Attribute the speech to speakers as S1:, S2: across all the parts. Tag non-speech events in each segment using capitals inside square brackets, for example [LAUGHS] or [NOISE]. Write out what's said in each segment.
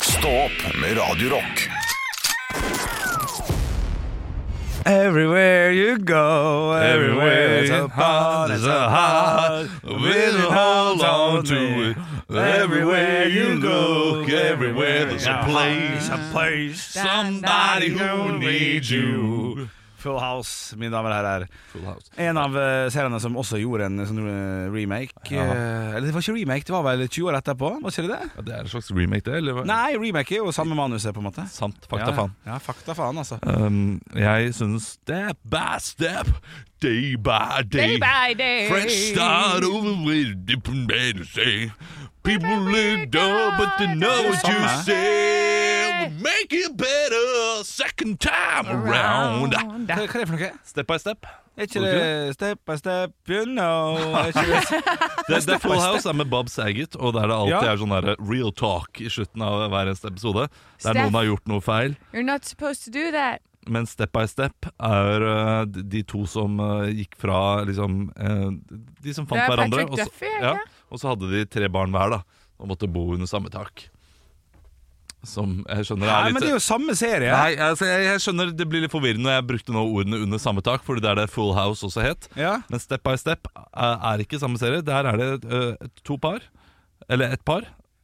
S1: Stå opp med Radio Rock.
S2: Everywhere you go, everywhere your heart is a heart, we'll hold on to it. Everywhere you go, everywhere there's a place, a place,
S3: Sånn,
S2: somebody who needs you. Full House, mine damer og herrer. En av eh, seriene som også gjorde en sånn eh, remake. eh, Eller det var ikke remake, det var vel 20 år etterpå? Var ikke det det?
S3: Ja, det er en slags remake, det? Eller? hva?
S2: Nei, remake er jo samme manuset, på en måte.
S3: Sant.
S2: ja,
S3: Fakta,
S2: ja.
S3: faen.
S2: Ja, fakta faen, altså.
S3: Um, jeg synes step by step, day by day,
S4: by day.
S3: fresh start over with different men to say. People look up, but they know what you
S2: Samme.
S3: say. We'll make it better second time around.
S2: Hva, hva er det for noe?
S3: Step by step.
S2: Er ikke
S3: Var det
S2: det Step by step, you
S3: [LAUGHS]
S2: know er ikke det?
S3: Det, det er Full House er med Bob Saget, og der det alltid
S2: Ja.
S3: er sånn der real talk i slutten av hver eneste episode. Der
S4: Steph.
S3: noen har gjort noe feil.
S4: You're not supposed to do that.
S3: Men Step by Step er eh, de de to som eh, gikk fra liksom eh, De som fant
S4: Det er
S3: hverandre.
S4: Patrick
S3: og så-
S4: Duffy, er det
S3: ja,
S4: ikke?
S3: og så hadde de tre barn hver, da. Og måtte bo under samme tak. Som jeg skjønner
S2: Nei,
S3: er litt
S2: men det er jo samme serie.
S3: Nei, altså, jeg, jeg skjønner det blir litt forvirrende. Jeg brukte nå ordene under samme tak, Fordi det er det Full House også het.
S2: Ja.
S3: Men Step by Step er, er ikke samme serie. Der er det eh, to par. Eller ett par.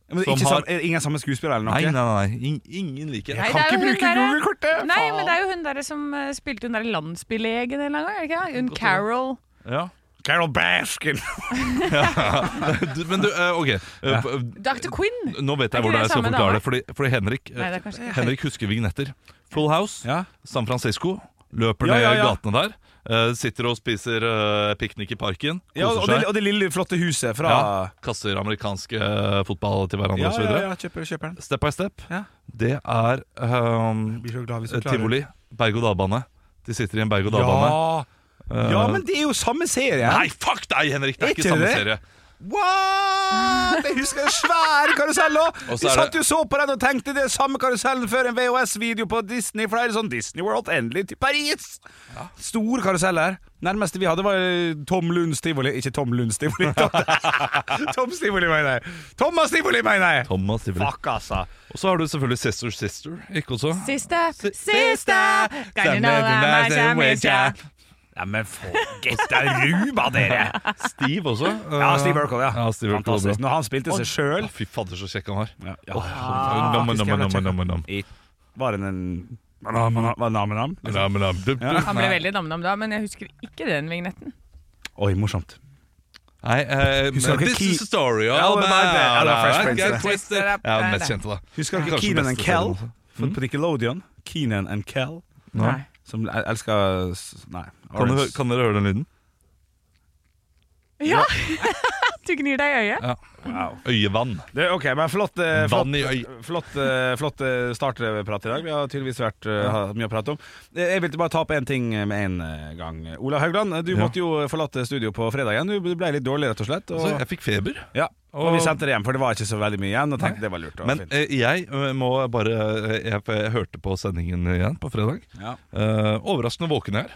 S2: Men det er
S3: Som
S2: ikke
S3: har-
S2: sam- er det ingen samme skuespiller eller noe?
S3: Nei, nei, nei. In, ingen liker
S4: Nei,
S2: Kan
S4: det er
S2: ikke
S4: jo hun
S2: bruke
S4: derre-
S2: Google-kortet!
S4: Nei,
S2: faen.
S4: men det er jo hun der som eh, spilte hun der landsbylegen en eller annen gang, er det ikke det? Hun Carol.
S3: Ja. [LAUGHS]
S2: Carol Baskin!
S3: Du- Men du, eh, ok. Eh, p-
S4: Dr. Quinn!
S3: Nå vet jeg
S4: Er ikke
S3: hvor det
S4: det
S3: er jeg skal
S4: samme
S3: forklare
S4: dame?
S3: det. Fordi, fordi Henrik, eh,
S4: Nei, det er kanskje ikke
S3: Henrik husker vignetter. Full House,
S2: Ja.
S3: San Francisco. Løper
S2: Ja,
S3: ned
S2: ja,
S3: i
S2: ja.
S3: gatene der. eh, sitter og spiser eh, piknik i parken. Koser
S2: Ja, og, det,
S3: seg.
S2: og det lille, flotte huset fra
S3: ja, kasser amerikansk eh, fotball til hverandre
S2: ja,
S3: og så
S2: ja,
S3: videre
S2: ja, kjøper, kjøper den.
S3: Step by step.
S2: Ja.
S3: Det er ehm,
S2: Blir så glad hvis du klarer
S3: tivoli. Berg-og-dal-bane. De sitter i en berg-og-dal-bane.
S2: Ja. ja, men det er jo samme serie.
S3: Eh. Nei, fuck deg, Henrik! Det er
S2: Er
S3: ikke
S2: ikke
S3: samme
S2: det?
S3: serie.
S2: What?! Jeg husker en svær karusell òg!
S3: Og så
S2: Vi
S3: er
S2: satt
S3: det-
S2: jo så på den og tenkte det er samme karusellen før en VHS-video på Disney. For det er sånn Disney World, endelig til Paris! Stor karusell her. Nærmeste vi hadde, var eh, Tom Lunds tivoli. Ikke Tom Lunds
S3: [LAUGHS]
S2: tivoli. Tom- Toms tivoli, mener jeg. Thomas tivoli, mener jeg!
S3: Thomas Tivoli.
S2: Fuck, altså.
S3: Og så har du selvfølgelig Sister Sister. Ikke også?
S4: Sister, sister, can you know that I'm with ya?
S2: Ja, men få get deg ruba, dere!
S3: Steve også.
S2: Ja, Steve Urkel, ja.
S3: Ja, Steve Urkel,
S2: Fantastisk.
S3: bra.
S2: Når han spilte seg sjøl
S3: Å, Fy fader, så kjekk han var.
S2: ja,
S3: Åh,
S2: ja.
S3: nam,
S2: faktisk
S3: nam,
S2: jævla
S3: nam,
S2: kjekk.
S3: nam, nam.
S2: I- Var den en Var den nam-nam?
S3: Nam, nam, du, du.
S4: Han ble veldig namnam da, men jeg husker ikke den vignetten.
S2: Oi, morsomt.
S3: Nei, eh,
S2: Husker dere
S3: This
S2: Key-
S3: is a story
S2: Ja,
S3: all
S2: det var det. Ja, det var Fresh
S3: about
S2: Prince, det.
S3: Get twisted. Ja, den mest kjente, da.
S2: Husker dere
S3: Kanskje
S2: Keenan and
S3: beste
S2: Kel?
S3: serien også.
S2: For På Nickelodeon. Keenan and Kel.
S3: Mm. Nei.
S2: Som el- elsker s- Nei.
S3: Kan, du,
S2: Orange.
S3: kan dere høre den lyden?
S4: Ja! du gnir deg i øyet.
S2: Wow.
S3: Øyevann.
S2: Det, ok, men flott, eh, flott,
S3: Vann i øy.
S2: flott, eh, flott eh, starterprat i dag. Vi har tydeligvis vært, eh, hatt mye å prate om. Eh, Jeg ville bare ta opp én ting med en eh, gang. Olav Haugland, eh, du
S3: Ja.
S2: måtte jo forlate studio på fredagen. Du ble litt dårlig, rett og slett.
S3: Så
S2: Og,
S3: jeg fikk feber.
S2: ja, og vi sendte det hjem, for det var ikke så veldig mye igjen. Og tenkte det var lurt og
S3: Men
S2: fint.
S3: eh, jeg eh, må bare eh, jeg, for jeg hørte på sendingen igjen på fredag.
S2: Ja.
S3: Eh, overraskende våken jeg er.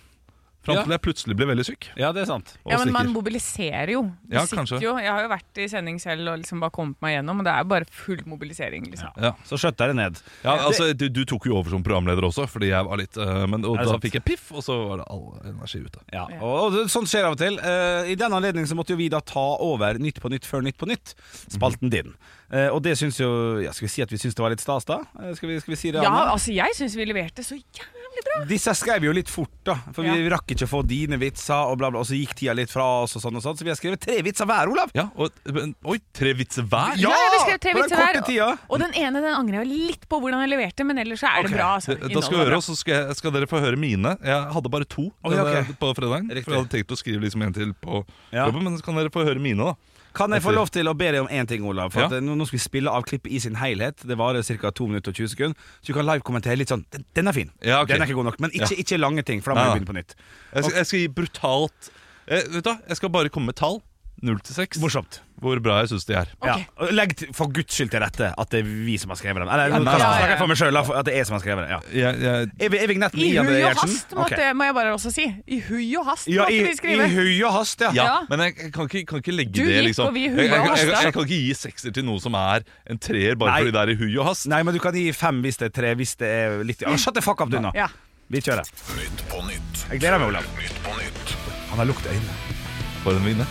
S3: Fram
S2: Ja.
S3: til jeg plutselig ble veldig syk.
S2: ja, det er sant.
S3: Og
S4: Ja, men man
S3: stikker.
S4: mobiliserer jo. Du
S3: Ja,
S4: sitter
S3: kanskje.
S4: jo. Jeg har jo vært i sending selv og liksom bare kommet meg gjennom, og det er bare full mobilisering, liksom.
S3: ja.
S2: Så skjøtt dere ned.
S3: Ja, altså, du, du tok jo over som programleder også, fordi jeg var litt eh, men, Og
S2: Er det
S3: da
S2: sant?
S3: fikk jeg piff, og så var det all energi ute.
S2: Ja, og, og sånt skjer av og til. Eh, I den anledning så måtte jo vi da ta over Nytt på nytt før Nytt på nytt, spalten
S3: Mhm.
S2: din. Eh, og det syns jo ja, Skal vi si at vi syns det var litt stas, da? Eh, skal, vi, skal vi si det?
S4: Ja,
S2: Anne?
S4: altså, jeg syns vi leverte så jævlig bra.
S2: Disse skrev vi jo litt fort, da. For vi rakk ikke å få dine vitser, og bla, bla. Og så gikk tida litt fra oss, og sånn og sånn. Så vi har skrevet tre vitser hver, Olav!
S3: Ja, og men, Oi, tre vitser hver?
S2: Ja,
S4: vi skrev tre
S2: på den
S4: vitser hver,
S2: korte tida.
S4: Og den ene den angrer jeg litt på hvordan jeg leverte, men ellers så er
S2: Ok,
S4: det bra. Altså.
S3: Da skal vi
S4: Innholdet
S3: høre,
S4: var
S3: og så skal, jeg- skal dere få høre mine. Jeg hadde bare to
S2: Oi,
S3: denne-
S2: ok.
S3: på fredagen.
S2: Riktig.
S3: For jeg hadde tenkt å skrive liksom en til på
S2: Ja.
S3: jobben, men så kan dere få høre mine, da.
S2: Kan jeg få lov til å be deg om én ting, Olav? For
S3: Ja.
S2: at, eh, nå, nå skal vi spille av klippet i sin helhet. Det varer ca. 2 minutter og 20 sekunder. Så du kan livekommentere litt sånn. Den, den er fin.
S3: Ja, ok.
S2: Den er ikke god nok. Men ikke, ikke lange ting, for da
S3: Nei,
S2: må
S3: nei.
S2: vi begynne på nytt.
S3: Jeg skal, jeg skal gi brutalt eh, Vet du hva, jeg skal bare komme med tall. 0 til 6
S2: Morsomt.
S3: hvor bra jeg syns de er.
S4: Ok.
S2: Ja. Og Legg til- for guds skyld til rette at det er vi som har skrevet den. Eller
S3: Ja,
S2: nå
S3: nei,
S2: snakker
S4: nei,
S2: jeg
S4: nei.
S2: for meg sjøl, at det er jeg som har skrevet den. Ja.
S3: Jeg, jeg,
S2: Er, vi, er vignetten
S4: I
S2: i André
S4: hui og
S2: Gjertsen?
S4: hast,
S2: Ok.
S4: måtte, må jeg bare også si. I hui og hast
S2: Ja,
S4: måtte
S2: i,
S4: vi skrive.
S2: I hui og hast, ja.
S3: ja,
S4: Ja.
S3: Men jeg kan ikke, kan ikke legge
S4: Du
S3: det
S4: gikk,
S3: liksom
S4: og vi
S3: jeg,
S4: huet
S3: jeg,
S4: og
S3: jeg, jeg,
S4: hastet.
S3: jeg kan ikke gi sekser til noe som er en treer, bare
S2: Nei.
S3: fordi det er i hui og hast.
S2: Nei, men du kan gi fem hvis det er tre, hvis det er litt Å, Shut the fuck up, du, nå.
S4: Ja.
S2: Vi kjører.
S1: Nytt på nytt.
S2: Jeg gleder meg, Olav.
S1: Nytt på nytt.
S2: Han har lukt øynene.
S3: For en vignett.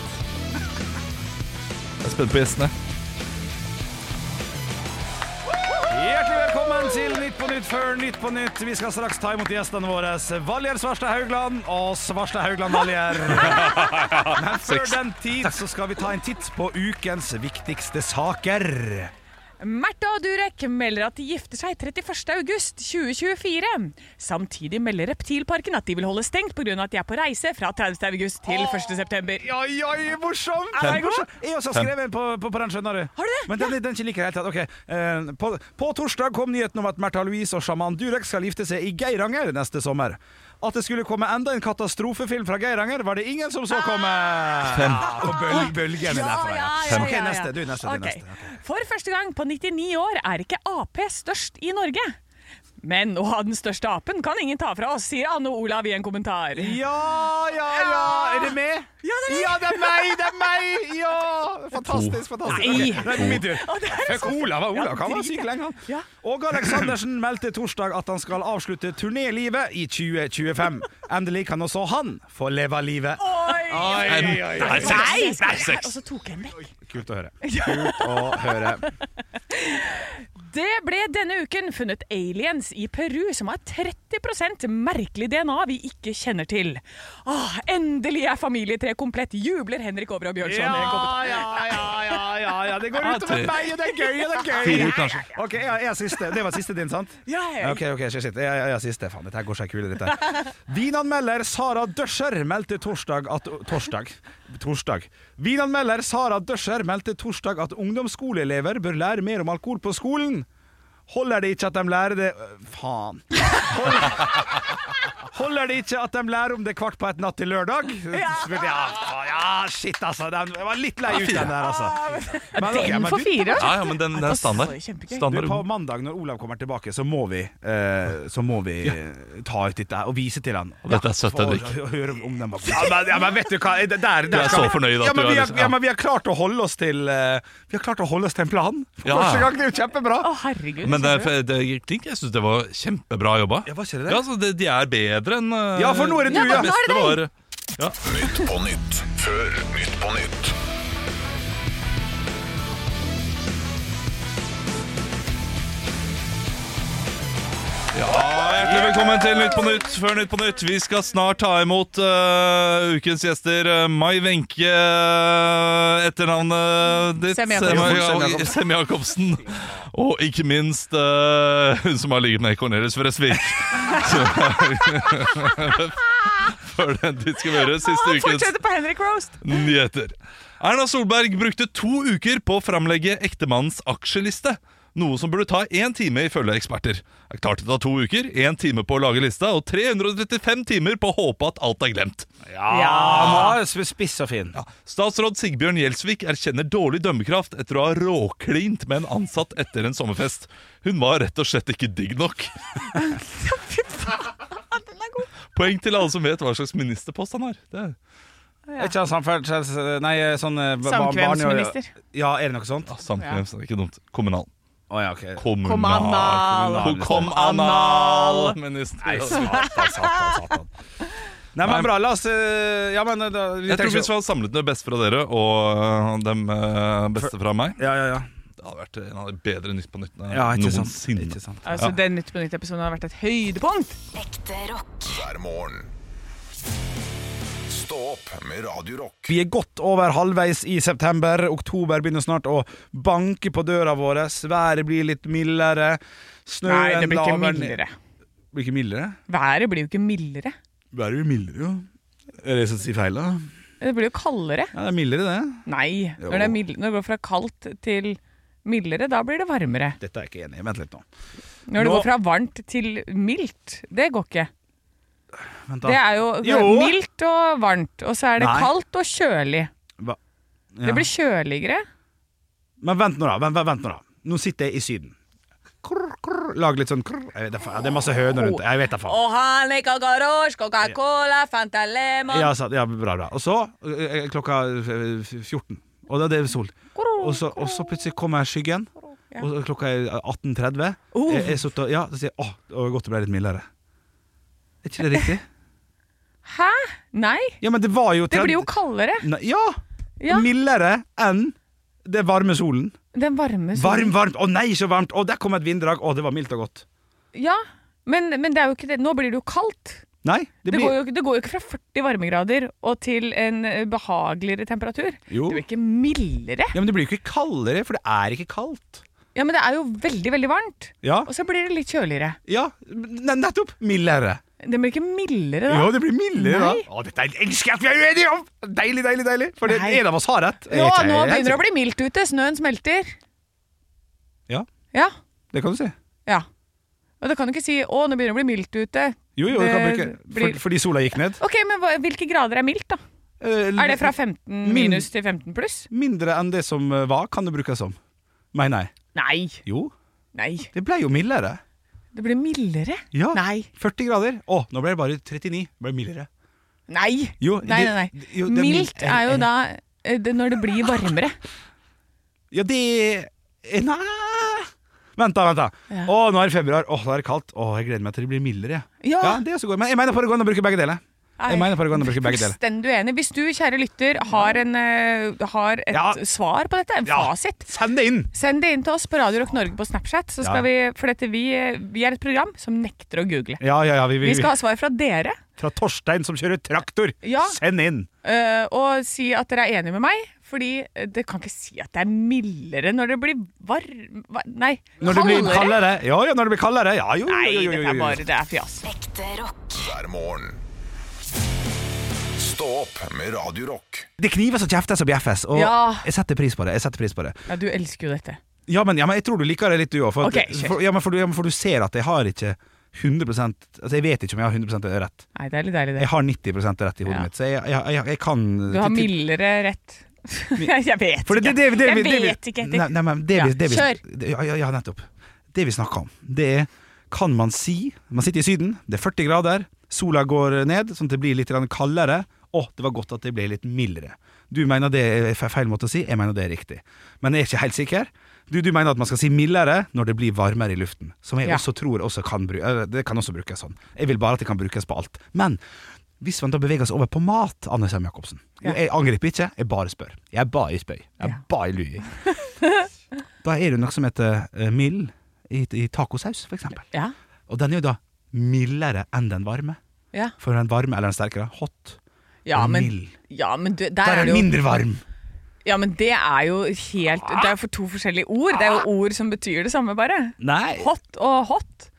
S3: Jeg er spent på gjestene.
S2: Hjertelig velkommen til Nytt på Nytt før Nytt på Nytt. Vi skal straks ta imot gjestene våre, Valjer Svarstad Haugland og Svarstad Haugland [LAUGHS] Valjer. Men før den tid så skal vi ta en titt på ukens viktigste saker.
S4: Märtha Durek melder at de gifter seg 31.8.2024. Samtidig melder Reptilparken at de vil holde stengt pga. at de er på reise fra 30.8 til 1.9.
S2: Oi, oi, morsomt!
S4: Er den god?
S2: Morsomt. Jeg også har skrevet en på, på, på den, skjønner du.
S4: Har du det?
S2: Men den, den ikke liker jeg i det hele tatt. Ok, eh, På, på torsdag kom nyheten om at Märtha Louise og sjaman Durek skal gifte seg i Geiranger neste sommer. At det skulle komme enda en katastrofefilm fra Geiranger, var det ingen som så komme. Fem. Ah, På bøl, bølgene derfra, ja. Ok, neste. Du, neste,
S4: Ok.
S2: du, neste. Ok.
S4: For første gang på 99 år er ikke Ap størst i Norge. Men å ha den største apen kan ingen ta fra oss, sier Anne Olav i en kommentar.
S2: Ja, ja, ja. Er det meg?
S4: Ja, det er meg.
S2: det er meg! Det er meg! Ja! Fantastisk, fantastisk.
S4: Nei.
S2: Ok, nå er det min tur.
S4: Å, det er
S2: Fuck
S4: så-
S2: Olav, Olav
S4: Ja,
S2: kan være
S4: drit
S2: syk
S4: det.
S2: lenge, han.
S4: Ja.
S2: Åge Aleksandersen meldte torsdag at han skal avslutte turnélivet i 2025. Endelig kan også han få leve livet.
S4: Oi!
S3: Nei,
S4: Nei!
S3: seks. Nei,
S4: Og
S3: seks.
S4: så tok jeg den vekk.
S2: Kult å høre. Kult å høre.
S4: Det ble denne uken funnet aliens i Peru som har 30 merkelig DNA vi ikke kjenner til. Åh, endelig er familietreet komplett, jubler Henrik Over og Bjørnson. i en kommentar.
S2: ja, ja, ja, ja, ja. Det går
S3: Ja,
S2: utover
S3: tre.
S2: meg, og det er gøy, og det er
S3: Fire
S2: gøy.
S3: ut, kanskje.
S2: Ok, ja, jeg er siste. Det var siste din, sant?
S4: Ja, ja, ja.
S2: Ok, ok, shit, shit. Jeg, jeg er siste. Faen, dette her går seg kule, dette her.
S3: [LAUGHS]
S2: Vinanmelder Sara Døscher meldte torsdag at Torsdag? Torsdag. Vinanmelder Sara Døscher meldte torsdag at ungdomsskoleelever bør lære mer om alkohol på skolen. Holder det ikke at de lærer det Øh, Faen. Holder, holder det ikke at de lærer om det kvart på ett natt til lørdag? Ja, faen, ja shit, altså. Den, jeg var litt lei ut, den der, altså. Men, ok,
S4: Den
S2: men
S4: får
S2: du-
S4: fire?
S3: Ja, ja, men den, den er standard.
S4: Kjempegøy.
S2: du,
S3: standard.
S2: på mandag når Olav kommer tilbake, så må vi, eh, så må vi eh, ta ut dette her og vise til han.
S3: dette er søtt,
S2: For å-
S3: Henrik.
S2: å høre om den var- Ja, men, ja, men vet du hva Det- Der, der,
S3: er
S2: skal
S3: så
S2: vi-
S3: fornøyd at
S2: ja, men
S3: du er
S2: vi har,
S3: liksom-
S2: ja, men vi har klart å holde oss til eh, Vi har klart å holde oss til en plan. For
S3: Ja.
S2: første gang, det er jo kjempebra.
S4: Å, herregud.
S3: Men det,
S4: skjønner du?
S3: det, Klink, jeg syns det var kjempebra jobba.
S2: Ja, var ikke det det?
S3: Ja, så det, De er bedre enn eh,
S2: Ja, for nå er det du,
S3: det
S2: ja.
S4: nå er det
S3: beste
S4: deg.
S3: var ja.
S1: Nytt på nytt. Før Nytt på nytt.
S3: Ja, Hjertelig velkommen til Nytt på Nytt før Nytt på Nytt. Vi skal snart ta imot eh, ukens gjester. eh, Mai Wenche, eh, etternavnet ditt.
S4: Sem-Jacobsen.
S3: Sem- Sem-Jacobsen. Og ikke minst eh, hun som har ligget med Cornelius
S4: [LAUGHS]
S3: Fresvik. Så- [LAUGHS] Før den tid skal vi høre siste
S4: Han
S3: ukens
S4: fortsetter Ah, på Henrik Roast.
S3: nyheter. Erna Solberg brukte to uker på å framlegge ektemannens aksjeliste. Noe som burde ta én time, ifølge eksperter. Det er klart det tar to uker, én time på å lage lista og 335 timer på å håpe at alt er glemt.
S2: Ja, nå er det spiss og fin.
S3: Statsråd Sigbjørn Gjelsvik erkjenner dårlig dømmekraft etter å ha råklint med en ansatt etter en sommerfest. Hun var rett og slett ikke digg nok. Poeng til alle som vet hva slags ministerpost han har. Det er
S2: Er ikke han samferdsels... Nei, sånn eh, ba- barn-
S4: Samkvemsminister.
S2: Ja, er det noe sånt? Å
S3: ah, Samkvems, ikke dumt. Kommunal.
S2: ja, ok.
S3: Kommunal.
S2: Kommunal.
S3: Kommunal. Minister.
S2: Nei, satan, satan, satan. Nei, men bra. La oss eh, Ja, men eh, da, vi
S3: Jeg tror
S2: tenker-
S3: vi skal samle det beste fra dere og øh, dem øh, beste fra meg.
S2: Ja, ja, ja.
S3: Det hadde vært en av de bedre Nytt på nyttene
S2: ja ikke sant.
S3: noensinne.
S2: Ikke sant.
S4: Altså, Den Nytt på Nytt-episoden har vært et høydepunkt.
S5: Ekte rock.
S1: Hver morgen. Stå opp med Radio Rock.
S2: Vi er godt over halvveis i september. Oktober begynner snart å banke på døra våre. Været blir litt mildere. Snøen
S4: Nei, det blir ikke
S2: laver ned-
S4: mildere.
S2: Blir ikke mildere?
S4: Været blir jo ikke mildere.
S2: Været blir mildere, jo. Er det jeg som sier feil, da?
S4: Det blir jo kaldere.
S2: Ja, det er mildere, det.
S4: Nei.
S2: Jo.
S4: Når det, er mild, når det går fra kaldt til mildere, da blir det varmere.
S2: Dette er jeg ikke enig i. Vent litt nå.
S4: Når det
S2: Nå-
S4: går fra varmt til mildt, det går ikke.
S2: Vent
S4: Det
S2: da.
S4: er jo,
S2: Jo.
S4: mildt og varmt, og så er det
S2: Nei.
S4: kaldt og kjølig.
S2: Hva?
S4: Det blir kjøligere.
S2: Men vent nå, da. Vent, vent, vent nå da Nå sitter jeg i Syden. Krr, krr, lag litt sånn krr. Jeg vet, da faen, Det er masse høner rundt. Jeg vet da faen.
S4: han liker garosje, Coca-Cola, Fanta Lemon
S2: Ja, sant, ja, bra, bra. Og så, eh, klokka eh, 14, og da er det sol. Og så, og så plutselig kommer skyggen, og så klokka er 18.30.
S4: Oh.
S2: Jeg, jeg satt og, ja, så sier jeg åh, det var godt det ble litt mildere. Er ikke det riktig?
S4: Hæ? Nei,
S2: Ja, men det var jo
S4: [LAUGHS] det blir jo
S2: 30
S4: kaldere.
S2: Nei, ja!
S4: Ja.
S2: Mildere enn det varme solen.
S4: Den varme solen.
S2: Varm, varmt! Å nei, så varmt! Å, der kom et vinddrag! Å, det var mildt og godt.
S4: Ja, men, men det er jo ikke det. nå blir det jo kaldt.
S2: Nei, det
S4: Det går,
S2: blir
S4: jo, det går jo ikke fra 40 varmegrader og til en eh, behageligere temperatur.
S2: Jo.
S4: Det blir ikke mildere.
S2: Ja, men det blir jo ikke kaldere, for det er ikke kaldt.
S4: Ja, men det er jo veldig, veldig varmt.
S2: Ja,
S4: Og så blir det litt kjøligere.
S2: ja ne- nettopp! Mildere.
S4: Det blir ikke mildere da.
S2: Jo, det blir mildere da.
S4: Nei.
S2: Å, dette er elsker jeg at vi er uenige om! Deilig, deilig, deilig. For det,
S4: Nei.
S2: en av oss har rett.
S4: Nå, nå begynner det å bli mildt ute. Snøen smelter.
S2: Ja.
S4: Ja.
S2: Det kan du si.
S4: ja. Og da kan du ikke si 'å, nå begynner det å bli mildt ute'.
S2: Jo, jo, det kan
S4: Det
S2: bruke.
S4: blir-
S2: For, fordi sola gikk ned.
S4: Ok, men hva, Hvilke grader er mildt, da? Er det fra 15
S2: Min-
S4: minus til 15 pluss?
S2: Mindre enn det som eh, var, kan det brukes som. Mener jeg.
S4: Nei.
S2: Jo,
S4: Nei.
S2: det ble jo mildere.
S4: Det blir mildere.
S2: Ja.
S4: Nei.
S2: 40 grader. Å, nå ble det bare 39. Det ble mildere.
S4: Nei.
S2: Jo,
S4: nei,
S2: det-
S4: nei, nei.
S2: det- jo, det er
S4: mildt
S2: mildt.
S4: er
S2: Eh,
S4: jo
S2: eh.
S4: da eh, det, når det blir varmere.
S2: Ja, det eh, Nei Vent, da. vent da
S4: Ja.
S2: Å, nå er det februar. Å, nå er det kaldt. Å, jeg gleder meg til det blir mildere.
S4: Ja.
S2: ja det er også godt. Men jeg mener på det går an å bruke begge deler.
S4: Nei.
S2: Jeg mener på det går an å bruke begge deler.
S4: Fullstendig uenig. Hvis du, kjære lytter, har, en, eh, har et
S2: Ja.
S4: svar på dette, en
S2: Ja.
S4: [LAUGHS] fasit,
S2: Send det inn!
S4: send det inn til oss på Radio Rock Norge på Snapchat. Så
S2: Ja.
S4: skal vi, for dette, vi, eh, vi er et program som nekter å google.
S2: Ja, ja, ja, vi, vi,
S4: Vi skal ha svar fra dere,
S2: Fra Torstein som kjører traktor.
S4: Ja.
S2: Send inn!
S4: eh, og si at dere er enig med meg. Fordi eh, det kan ikke si at det er mildere når det blir varm... va- Nei,
S2: Når det blir kaldere. Ja, ja, når det blir kaldere. Ja, jo,
S4: Nei,
S2: jo, jo, jo,
S4: dette
S2: jo,
S4: er
S2: jo.
S4: bare det er fjas.
S6: Ekte rock.
S1: hver morgen. Stå opp med Radio Rock.
S2: Det knives og kjeftes og bjeffes, og
S4: Ja.
S2: jeg setter pris på det. Jeg setter pris på det
S4: Ja, du elsker jo dette.
S2: Ja, men, ja, men jeg tror du liker det litt, du òg. For, at-
S4: Ok, kjør.
S2: for, ja, men for, du- ja, men for du ser at jeg har ikke 100 Altså, jeg vet ikke om jeg har 100 rett.
S4: Nei, det er litt deilig, det.
S2: Jeg har 90 rett i hodet
S4: Ja.
S2: mitt, så jeg, jeg, jeg, jeg kan
S4: Du har mildere rett. [LAUGHS] jeg vet
S2: For det, det,
S4: ikke.
S2: det, det,
S4: jeg
S2: det, det,
S4: vet ikke
S2: Nei,
S4: etter.
S2: nei, men det, vi-
S4: Ja,
S2: det, vi-
S4: kjør.
S2: det- Ja, ja, ja, nettopp. Det vi snakker om, det er Kan man si Man sitter i Syden, det er 40 grader, sola går ned, sånn at det blir litt grann kaldere. Å, det var godt at det ble litt mildere. Du mener det er fe- feil måte å si, jeg mener det er riktig. Men jeg er ikke helt sikker. Du, du mener at man skal si mildere når det blir varmere i luften. Som jeg
S4: Ja.
S2: også tror også kan, bru- eh, det kan også brukes sånn. Jeg vil bare at det kan brukes på alt. Men hvis man da beveger seg over på mat, Anne Sem Jacobsen
S4: Ja.
S2: Jeg angriper ikke, jeg bare spør. Jeg bare spør. Jeg
S4: Ja.
S2: bare lurer. Da er det noe som heter eh, mild i, i tacosaus, for eksempel.
S4: Ja,
S2: Og den er jo da mildere enn den varme.
S4: ja.
S2: For den varme eller den sterkere, hot.
S4: ja
S2: og
S4: men,
S2: mild.
S4: ja, men, du, der
S2: Der
S4: er
S2: er den
S4: det jo,
S2: mindre varm.
S4: ja, men det er jo helt Det er jo for to forskjellige ord. Det er jo ord som betyr det samme, bare.
S2: Nei.
S4: Hot og hot.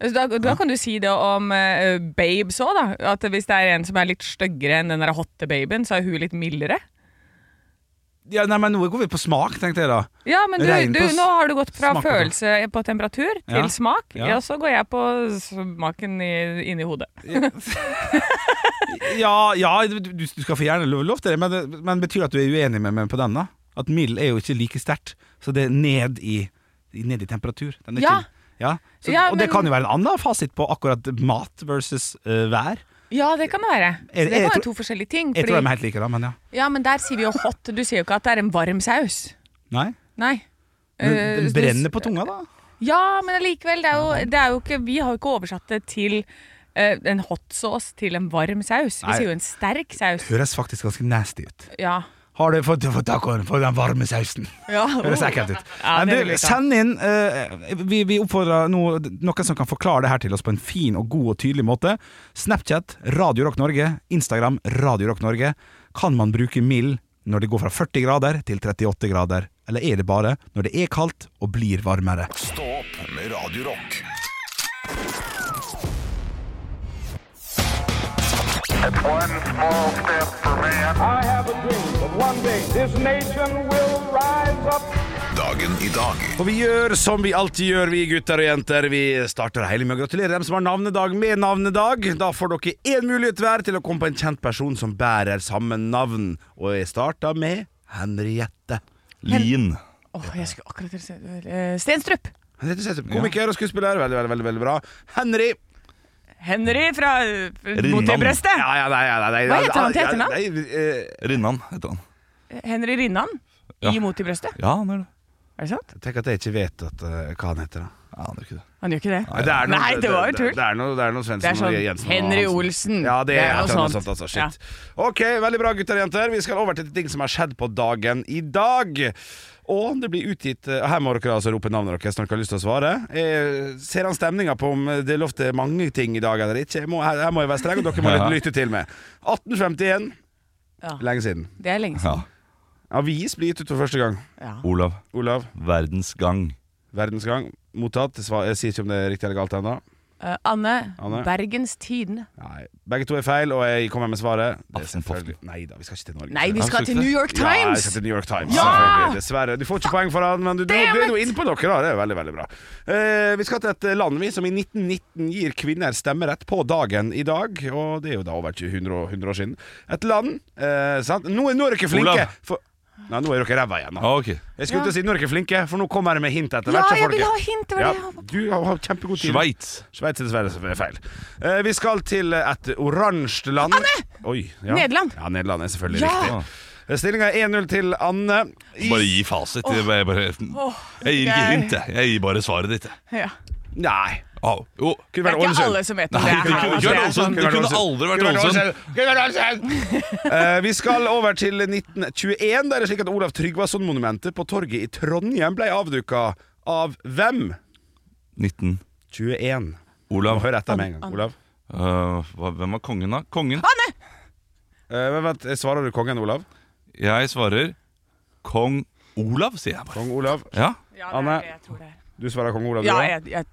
S4: Så Da, da kan du si det om eh, babes òg, da. At hvis det er en som er litt styggere enn den der hotte babyen, så er hun litt mildere.
S2: Ja, nei, men nå går vi på smak, tenkte jeg da.
S4: Ja, men du,
S2: Regn på
S4: du,
S2: s-
S4: nå har du gått fra
S2: smak på det.
S4: følelse på temperatur til
S2: Ja,
S4: smak,
S2: ja.
S4: ja, så går jeg på smaken i, inni hodet.
S2: Ja, ja du, du du skal få gjerne lov, lov til det, men, det- men betyr det at du er uenig med meg på den, da? At mild er jo ikke like sterkt, så det er ned i, i- ned i temperatur. Den er
S4: Ja.
S2: Ikke, ja. Så,
S4: Ja,
S2: og det
S4: men-
S2: kan jo være en annen fasit på akkurat mat versus eh, vær.
S4: Ja, det kan det være. Så
S2: Jeg- jeg
S4: det kan være
S2: tror-
S4: to forskjellige ting.
S2: Jeg tror de
S4: fordi-
S2: er helt like, da, men ja.
S4: ja, men der sier vi jo hot. Du sier jo ikke at det er en varm saus.
S2: Nei.
S4: Nei.
S2: Men
S4: Eh,
S2: den
S4: du-
S2: brenner på tunga, da.
S4: Ja, men allikevel. Det er jo, det er jo ikke, vi har jo ikke oversatt det til eh, en hot sauce til en varm saus. Vi
S2: Nei.
S4: sier jo en sterk saus.
S2: Høres faktisk ganske nasty ut.
S4: Ja.
S2: Har du fått, fått tacoen for den varme sausen?
S4: ja.
S2: Høres ekkelt ut.
S4: Oh. Ja, det
S2: Men
S4: vil
S2: du,
S4: jeg ta.
S2: send inn eh, Vi, vi oppfordrer no, noen som kan forklare det her til oss på en fin og god og tydelig måte. Snapchat Radio Rock Norge, Instagram Radio Rock Norge. Kan man bruke mild når det går fra 40 grader til 38 grader? Eller er det bare når det er kaldt og blir varmere?
S1: Stå opp med Radio Rock.
S7: One small step for man.
S8: I have a dream that one day this nation will rise up.
S1: Dagen i dag
S2: For vi gjør som vi alltid gjør, vi gutter og jenter. Vi starter hele med å gratulere dem som har navnedag med navnedag. Da får dere én mulighet hver til å komme på en kjent person som bærer samme navn. Og jeg starter med Henriette.
S3: Lien.
S4: Åh, jeg skulle akkurat til å si eh, Stenstrup.
S2: Henriette Sestrup, komiker og skuespiller. Veldig, veldig, veldig, veldig bra. Henry!
S4: Henry fra eh, Mot i
S3: Rinnan.
S4: brøstet.
S2: Ja, ja, nei, ja, nei, nei,
S4: Hva heter han til
S2: ja,
S4: etternavn?
S2: nei, eh,
S3: Rinnan heter han.
S4: Henry Rinnan
S3: Ja.
S4: i Mot i brøstet.
S3: Ja, han er det.
S4: Er det sant?
S2: Tenk at jeg ikke vet at, eh, hva han heter. Da.
S3: Ja, han er ikke det.
S4: Han gjør ikke det.
S2: Det er noe,
S4: Nei, det var jo
S2: Det,
S4: tull.
S2: det, er noe, det er noe
S4: Det
S2: Svendsen
S4: er sånn
S2: og Jensen. og
S4: Henry
S2: Hansen.
S4: Olsen.
S2: Ja, det, er
S4: noe
S2: noe
S4: sånt.
S2: sånt. Altså,
S4: Ja.
S2: shit. Ok, veldig bra, gutter og jenter. Vi skal over til ting som har skjedd på dagen i dag. Og det blir utgitt eh, Her må dere altså rope navnet deres når dere har lyst til å svare. Eh, ser han stemninga på om det er lov til mange ting i dag eller ikke? Jeg må, her, her må jeg være streng, og dere må
S3: Ja.
S2: lytte til meg. 1851.
S4: Ja.
S2: Lenge siden.
S4: Det er lenge
S3: Ja.
S4: siden.
S2: Avis blir gitt ut for første gang.
S4: Ja.
S3: Olav.
S2: Olav,
S3: Verdens gang.
S2: verdensgang. Mottatt. Svar, jeg sier ikke om det er riktig eller galt ennå.
S4: Eh, Anne,
S2: Anne.
S4: Bergens Tidende.
S2: Nei, Begge to er feil, og jeg kommer med svaret. Det er
S3: Aftenposten.
S2: selvfølgelig- Nei da, vi skal ikke til Norge.
S4: Nei, vi skal til New York
S2: Ja, jeg
S4: Times!
S2: skal til New York Times.
S4: Ja!
S2: selvfølgelig, Dessverre. Du får ikke poeng for den, men du, du,
S4: Damn
S2: du er
S4: it!
S2: jo inne på noe. da Det er veldig, veldig bra. Eh, vi skal til et land vi som i 1919 gir kvinner stemmerett på dagen i dag. Og det er jo da over 100, år- 100 år siden. Et land eh, sant? Nå, er- nå er dere flinke!
S3: Olav.
S2: For, nei, nå er dere ræva igjen. Da.
S3: Ah, ok.
S2: Jeg skulle
S4: Ja.
S2: til å si nå er dere flinke, for nå kommer det med hint etter
S4: Ja,
S2: hvert. så
S4: jeg
S2: får
S4: vil
S2: dere-
S4: ha hint! Det var
S2: Ja,
S4: det jeg hadde.
S2: du har har kjempegod tid.
S3: Sveits.
S2: Sveits er dessverre selvfølgelig feil. Eh, vi skal til et oransje land. Anne! Oi, ja.
S4: Nederland.
S2: Ja, Nederland er selvfølgelig
S4: Ja!
S2: riktig. Stillinga er 1-0 til Anne. I-
S3: Bare gi fasit. Jeg, bare, jeg gir ikke hint, jeg. Jeg gir bare svaret ditt. jeg.
S4: Ja.
S2: Nei.
S3: Au. Jo.
S2: Kunne
S4: Det
S2: vært
S4: er ikke
S2: Ålesund.
S4: alle som vet om
S3: Nei,
S4: det
S3: det
S4: her.
S3: kunne
S4: altså,
S3: ikke vært
S4: det er sånn-
S3: Ålesund. Det kunne aldri vært Ålesund.
S2: Kunne vært Ålesund. [LAUGHS] Eh, vi skal over til 1921. Da er det slik at Olav Tryggvason-monumentet på torget i Trondheim ble avduka av hvem?
S3: 19.
S2: 21.
S3: Olav.
S2: Hør etter med en gang,
S4: Anne.
S2: Olav.
S3: Øh, hva, hvem var kongen, da? Kongen?
S2: Eh, men vent, svarer du kongen, Olav?
S3: Jeg svarer kong Olav, sier jeg bare.
S2: Kong Olav.
S3: Ja,
S4: Ja, det
S2: Anne.
S4: er det jeg tror det er.
S2: Du svarer kong Olav, du
S4: Ja,
S2: også?
S4: jeg, jeg,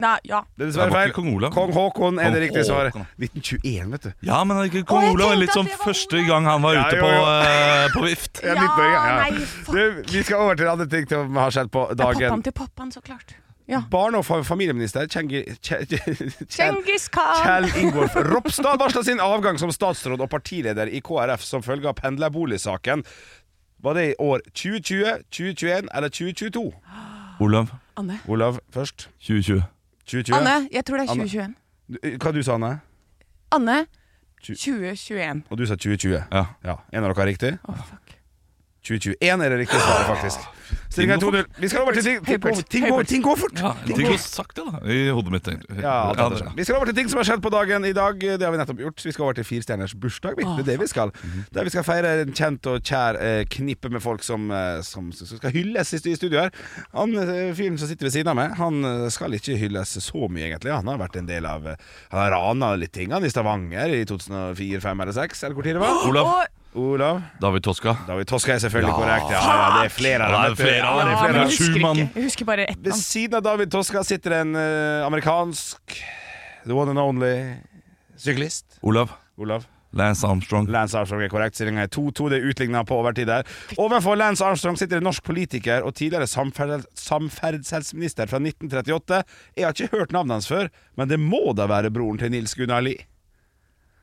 S4: nei, ja.
S2: Det er
S3: Det
S2: dessverre
S3: var
S2: feil.
S3: ikke kong Olav.
S2: Kong Håkon er det
S3: Kong
S2: riktige svaret.
S3: Håkon.
S2: 1921, vet du.
S3: ja men er ikke kong
S4: Å, jeg
S3: Olav er
S4: tenkte
S3: litt
S4: at
S3: sånn
S4: det var
S3: første
S4: Olav.
S3: gang han var
S2: Ja,
S3: ute
S2: jo,
S3: på,
S2: jo.
S3: eh, på vift.
S2: Ja, litt Norge, ja.
S4: nei, fuck.
S2: Du, vi skal over til andre ting som har skjedd på
S4: Det er pappaen
S2: dagen.
S4: til pappaen, så klart. Ja.
S2: Barne- og fa- familieminister Kjengi- Kje- Kjell
S4: Cengiz Khan.
S2: Kjell Ingolf Ropstad varsla sin avgang som statsråd og partileder i KrF som følge av pendlerboligsaken. Var det i år 2020, 2021 eller 2022?
S3: Olav
S4: Anne.
S2: Olav først.
S3: 2020.
S2: 2020.
S4: Anne, jeg tror det er
S2: Anne.
S4: 2021.
S2: Du- Hva du sa Anne?
S4: Anne
S2: Tju-
S4: 2021.
S2: Og du sa 2020.
S3: Ja.
S2: Ja, En av dere har riktig?
S4: Å, fuck.
S2: 2021 er det riktige svaret, faktisk.
S3: Ah.
S2: Stillingen er 2-0. Vi skal over til ting, ting, går- ting, går- ting går fort.
S3: ja ting går sakte, da, i hodet mitt. egentlig.
S2: Ja, alt
S3: det
S2: annet.
S3: er-
S2: vi skal over til ting som har skjedd på dagen i dag. Det har vi nettopp gjort. Vi skal over til firestjerners bursdag.
S3: Ah.
S2: vi. Det er det vi skal.
S3: Mhm.
S2: Der vi skal feire en kjent og kjær eh, knippe med folk som, eh, som, som skal hylles i stu- i studio her. Han eh, fyren som sitter ved siden av meg, han eh, skal ikke hylles så mye, egentlig. Han har vært en del av eh, Han har rana litt ting, han, i Stavanger i 2004, 2005 eller 2006, eller hvor tid det var.
S3: Olav.
S4: Og
S2: Olav.
S3: David Toska.
S2: David Toska er selvfølgelig
S3: Ja.
S2: korrekt. Ja, ja, det er flere av
S3: Ja,
S2: dem.
S3: det er
S2: vet du.
S3: flere av
S2: Ja, det
S3: dem.
S2: er
S4: Ja,
S2: flere
S4: men
S2: av dem.
S4: jeg
S3: Sju
S4: husker
S3: mann.
S4: ikke. Jeg husker bare ett
S2: Ved
S4: navn.
S2: siden av David Toska sitter en eh, amerikansk The one and only syklist.
S3: Olav.
S2: Olav.
S3: Lance Armstrong.
S2: Lance Armstrong er korrekt. Stillinga er 2-2. Det er utligna på overtid der. Overfor Lance Armstrong sitter en norsk politiker og tidligere samferdel- samferdselsminister fra 1938. Jeg har ikke hørt navnet hans før, men det må da være broren til Nils Gunnar Lie.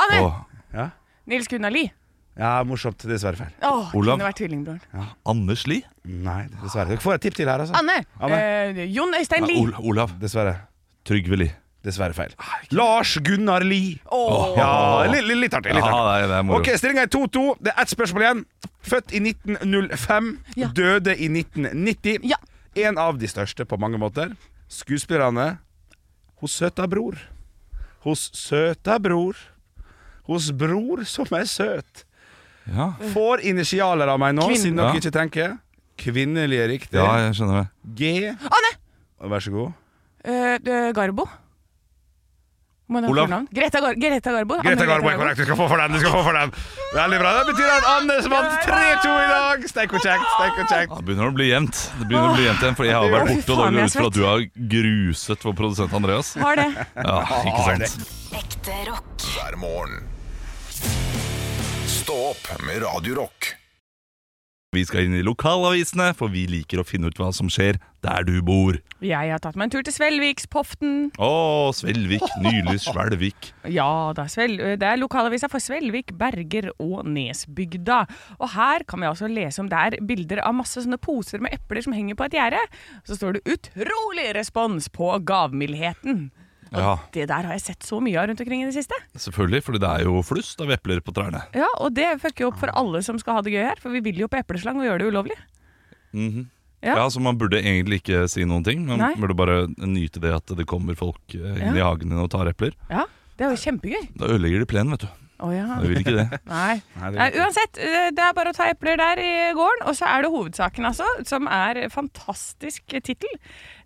S4: Anne!
S3: Og
S2: Ja?
S4: Nils Gunnar Lie.
S2: ja, morsomt. Dessverre feil.
S4: Åh,
S3: Olav.
S4: kunne vært tvillingbroren.
S3: Anders Lie.
S2: Nei, dessverre. Dere får et tipp til her,
S3: Ah.
S2: altså.
S4: Anne!
S2: Anne.
S4: Eh, Jon Øystein
S3: Nei,
S4: Lie.
S3: Ol- Olav.
S2: Dessverre.
S3: Trygve Lie.
S2: Dessverre feil. Lars Gunnar Lie.
S4: Ah, Åh.
S2: Ja, litt, litt artig. Litt
S3: Ja,
S2: artig.
S3: det er, det er moro.
S2: Ok, Stillinga er 2-2. Det er ett spørsmål igjen. Født i 1905,
S4: Ja.
S2: døde i 1990.
S4: Ja.
S2: En av de største på mange måter. Skuespillerne hos søta bror. Hos søta bror. Hos bror som er søt.
S3: Ja.
S2: Får initialer av meg nå,
S4: Kvinn-
S2: siden dere
S3: Ja.
S2: ikke tenker. Kvinnelige riktig.
S3: ja, jeg skjønner det.
S2: G.
S4: Anne!
S2: Vær så god.
S4: Eh, eh, Garbo. Må jeg ha
S3: Olav.
S4: fornavn? Greta, Gar Greta Garbo. Anne
S2: Greta Garbo er korrekt. Du skal få for den. du skal få for den Veldig bra. Det betyr at Annes vant 3-2 i dag. Steik og kjekt. Steik og kjekt.
S3: Ja, det begynner å bli jevnt. Det begynner å bli jevnt igjen, Fordi jeg har vært
S4: Fy
S3: borte, og da går
S4: faen, jeg
S3: jeg
S4: er
S3: ut fra at du har gruset vår produsent Andreas.
S4: Har det.
S3: Ja, ikke sant?
S6: Ekte rock.
S1: hver morgen. Stå opp med Radio Rock.
S3: Vi skal inn i lokalavisene, for vi liker å finne ut hva som skjer der du bor.
S4: Jeg har tatt meg en tur til Svelvikspoften.
S3: Å, Svelvik, Nylys, Svelvik.
S4: Ja da, Svel eh, det er lokalavisa for Svelvik, Berger og Nesbygda. Og her kan vi altså lese om det er bilder av masse sånne poser med epler som henger på et gjerde. Så står det 'utrolig respons på gavmildheten'.
S3: Ja,
S4: Det der har jeg sett så mye av rundt omkring i det siste.
S3: selvfølgelig, for det er jo flust av epler på trærne.
S4: Ja, Og det fucker jo opp for alle som skal ha det gøy her, for vi vil jo på epleslang og gjøre det ulovlig. Ja.
S3: Ja. så man burde egentlig ikke si noen ting. Man
S4: Nei.
S3: burde bare nyte det at det kommer folk eh, inn i hagen din og tar epler.
S4: Ja, Det er jo kjempegøy.
S3: Da ødelegger de plenen, vet du.
S4: Å ja.
S3: Jeg vil ikke
S4: [LAUGHS]
S3: det.
S4: Nei.
S9: det-
S4: Nei, uansett, eh, det er bare å ta epler der i gården. Og så er det hovedsaken, altså, som er fantastisk tittel.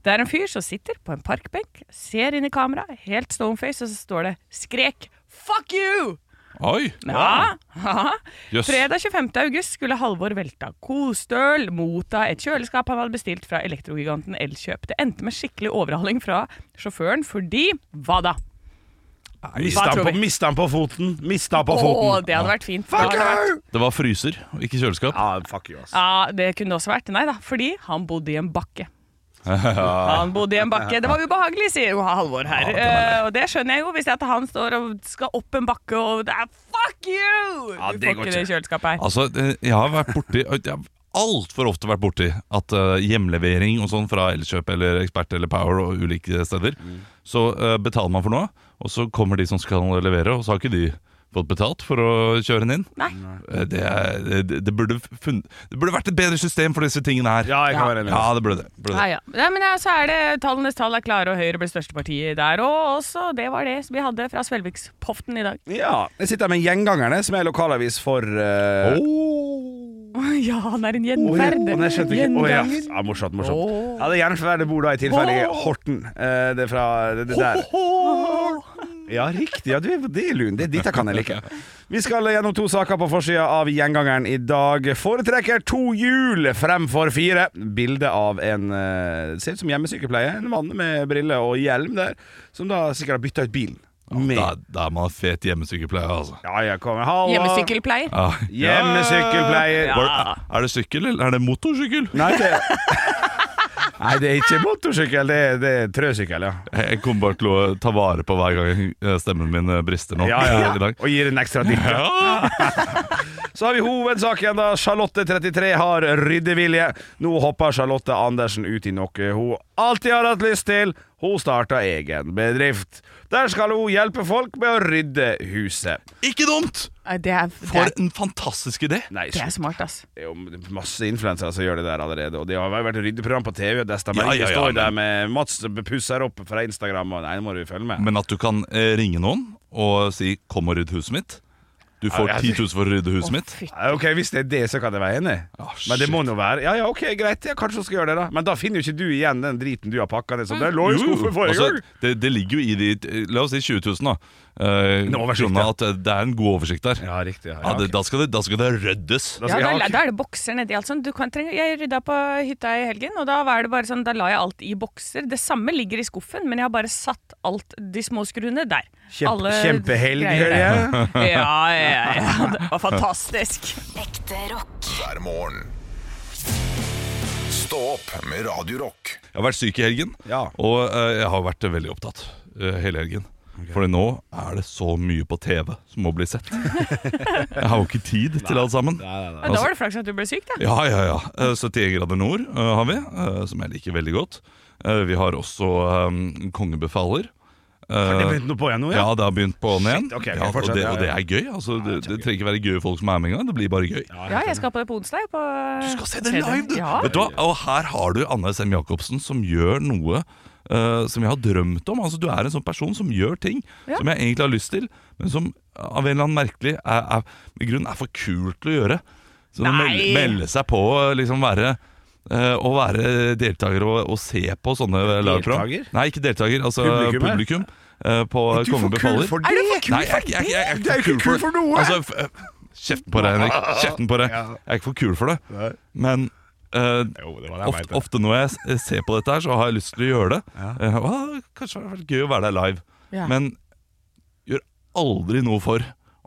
S4: Det er en fyr som sitter på en parkbenk, ser inn i kamera, helt stoneface, og så står det 'skrek fuck you'!
S3: Oi!
S4: Ja.
S3: Jøss.
S4: Fredag 25. august skulle Halvor velta kosstøl, motta et kjøleskap han hadde bestilt fra elektrogiganten Elkjøp. Det endte med skikkelig overhaling fra sjåføren fordi hva da?
S9: Mista
S4: Hva
S9: han,
S4: tror
S9: på,
S4: vi?
S9: mista han på foten! Mista han på
S4: Å,
S9: foten!
S4: det hadde vært fint.
S9: Fuck
S4: Da hadde det vært-
S9: you!
S3: Det var fryser, og ikke kjøleskap.
S9: Ja, fuck you, ass.
S4: Ja, det kunne det også vært. Nei da, fordi han bodde i en bakke.
S9: [LAUGHS]
S4: Han bodde i en bakke. Det var ubehagelig, sier jo Halvor her. Eh, og det skjønner jeg jo, hvis det er at han står og skal opp en bakke og det er fuck you!
S9: Ja,
S4: du
S9: det
S4: får
S9: går
S4: ikke det i kjøleskapet her.
S3: Altså, eh, jeg har vært borti Jeg har altfor ofte vært borti at eh, hjemlevering og sånn fra Elkjøp eller Ekspert eller Power og ulike steder, så eh, betaler man for noe, og så kommer de som skal levere, og så har ikke de fått betalt for å kjøre den inn.
S4: Nei.
S3: Eh, Det, er, det, det, burde funn- det burde vært et bedre system for disse tingene her.
S9: Ja, jeg kan være enig.
S3: Ja, det burde det. Burde det.
S4: Ja, ja. Nei, men ja, så er det tallenes tall er klare, og Høyre ble største partiet der òg. Også det var det som vi hadde fra Svelvikspoften i dag. [LAUGHS]
S9: Ja, jeg sitter her med Gjengangerne, som er lokalavis for eh,
S4: ja, han er en
S9: Åh, ja.
S4: gjenferd.
S9: Nei, jeg skjønte ikke. Åh, ja.
S4: Gjenganger.
S9: ja, morsomt, morsomt.
S4: Åh.
S9: Ja, det er Jernferd bor da i tilfelle i
S4: Åh.
S9: Horten. Eh, det er fra det, det der. Ja, riktig. Ja, du er på det, Lun. Det, dette kan jeg
S4: [LAUGHS]
S9: like. Vi skal gjennom to saker på forsida av Gjengangeren i dag. Foretrekker to hjul fremfor fire. Bilde av en eh, ser ut som hjemmesykepleie. En mann med briller og hjelm der, som da sikkert har bytta ut bilen. Med.
S3: Da, da er man fet hjemmesykepleier, altså.
S9: Ja, jeg kommer. Hallo.
S4: Hjemmesykkelpleier.
S3: Ja.
S9: Hjemmesykkelpleier.
S3: Var- Er det sykkel, eller er det motorsykkel?
S9: Nei, det [LAUGHS] Nei, det er ikke motorsykkel, det er, det er trøsykkel, ja.
S3: Jeg kommer bare til å ta vare på hver gang eh, stemmen min eh, brister nå.
S9: Ja, ja,
S3: [LAUGHS] I dag.
S9: Og gir en ekstra dipp.
S3: Ja.
S9: [LAUGHS] Så har vi hovedsaken, da. Charlotte33 har ryddevilje. Nå hopper Charlotte Andersen ut i noe hun alltid har hatt lyst til. Hun starter egen bedrift. Der skal hun hjelpe folk med å rydde huset.
S3: Ikke dumt!
S4: Nei, Det er, det
S3: For
S4: er,
S3: en fantastisk idé!
S9: Nei,
S4: det er
S9: slutt.
S4: smart, ass.
S9: Det er jo masse influensere som gjør det der allerede. Og det har vært ryddeprogram på TV. Der stemmer
S3: Ja,
S9: ikke.
S3: ja, ja,
S9: står
S3: men-
S9: der med Mats som pusser opp fra Instagram. Og nei, nå må du følge med.
S3: Men at du kan eh, ringe noen og si 'kom og rydd huset mitt'. Du får
S9: Ja, jeg-
S3: 10 000 for å rydde huset mitt.
S4: fy.
S9: Ja, Ok, Hvis det er det, så kan jeg være enig.
S3: Ah, shit.
S9: Men det må nå være Ja, ja, ok, greit. Ja, kanskje hun skal gjøre det, da. Men da finner jo ikke du igjen den driten du har pakka ned. Så det lå i
S3: Jo,
S9: skuffen forrige
S3: altså,
S9: gang.
S3: det, det ligger jo i de eh, La oss si 20 000, da. Eh,
S9: En oversikt,
S3: kroner,
S9: ja.
S3: at eh, det er en god oversikt der.
S9: Ja, riktig. Ja,
S3: Ja, det,
S9: ok.
S3: da, skal det, da skal det ryddes.
S9: Da
S4: Ja,
S9: skal Altså, jeg
S4: da,
S9: ha-
S4: da er det bokser nedi alt sånn. Du kan trenge, jeg rydda på hytta i helgen, og da var det bare sånn, da la jeg alt i bokser. Det samme ligger i skuffen, men jeg har bare satt alt de små skruene der.
S9: Kjempe-
S4: Alle
S9: kjempehelg,
S4: greier der.
S9: hører
S4: [LAUGHS] Ja, ja, ja. Det var fantastisk.
S10: Ekte rock.
S1: hver morgen. Stå opp med Radio Rock.
S3: Jeg har vært syk i helgen,
S9: Ja.
S3: og eh, jeg har vært veldig opptatt eh, hele helgen. Fordi nå er det så mye på TV som må bli sett. [LAUGHS] jeg har jo ikke tid til alt sammen.
S4: Men da var det flaks at du ble syk, da.
S3: Ja, ja, ja. Eh, 71 grader nord eh, har vi, eh, som jeg liker veldig godt. Eh, vi har også eh, kongebefaler. Eh,
S9: Har det begynt noe på igjen nå,
S3: ja,
S9: ja?
S3: det har begynt på den igjen.
S9: Shit, ok, ok,
S3: ja, og,
S9: fortsett,
S3: det,
S9: ja,
S3: og det er gøy. Altså, det, det trenger ikke være gøye folk som er med engang. Det blir bare gøy.
S4: Ja, jeg skal på det på onsdag. På eh,
S3: Du skal se det live, du!
S4: Ja.
S3: Vet du hva? Og her har du Anne Sem Jacobsen som gjør noe eh, som jeg har drømt om. Altså, du er en sånn person som gjør ting
S4: Ja.
S3: som jeg egentlig har lyst til, men som av en eller annen merkelig er, er, i grunnen er for kul til å gjøre. Så å melde,
S4: Nei.
S3: melde seg på og liksom være eh, å være deltaker og, og se på sånne liveprogram.
S9: Deltaker?
S3: Nei, ikke deltaker. Altså
S9: Publikum,
S3: publikum.
S9: ja.
S3: eh, på
S9: Er du
S3: Kongen
S9: for kul
S3: befaler.
S9: for
S4: Er du for
S9: det?
S4: kul
S3: Nei, jeg, jeg, jeg, jeg, er
S9: Det er jo
S3: ikke
S9: ikke kul for noe!
S3: Altså, f- eh, kjeften på deg,
S9: [LAUGHS]
S3: Henrik. Kjeften på deg. Jeg er ikke for kul for det. Men eh,
S9: Jo, det var det jeg
S3: ofte,
S9: mente.
S3: ofte når jeg s- eh, ser på dette her, så har jeg lyst til å gjøre det. Eh, «Å, kanskje det hadde vært gøy å være der live.
S4: Ja.
S3: Men
S9: Mm.
S3: gjør aldri noe for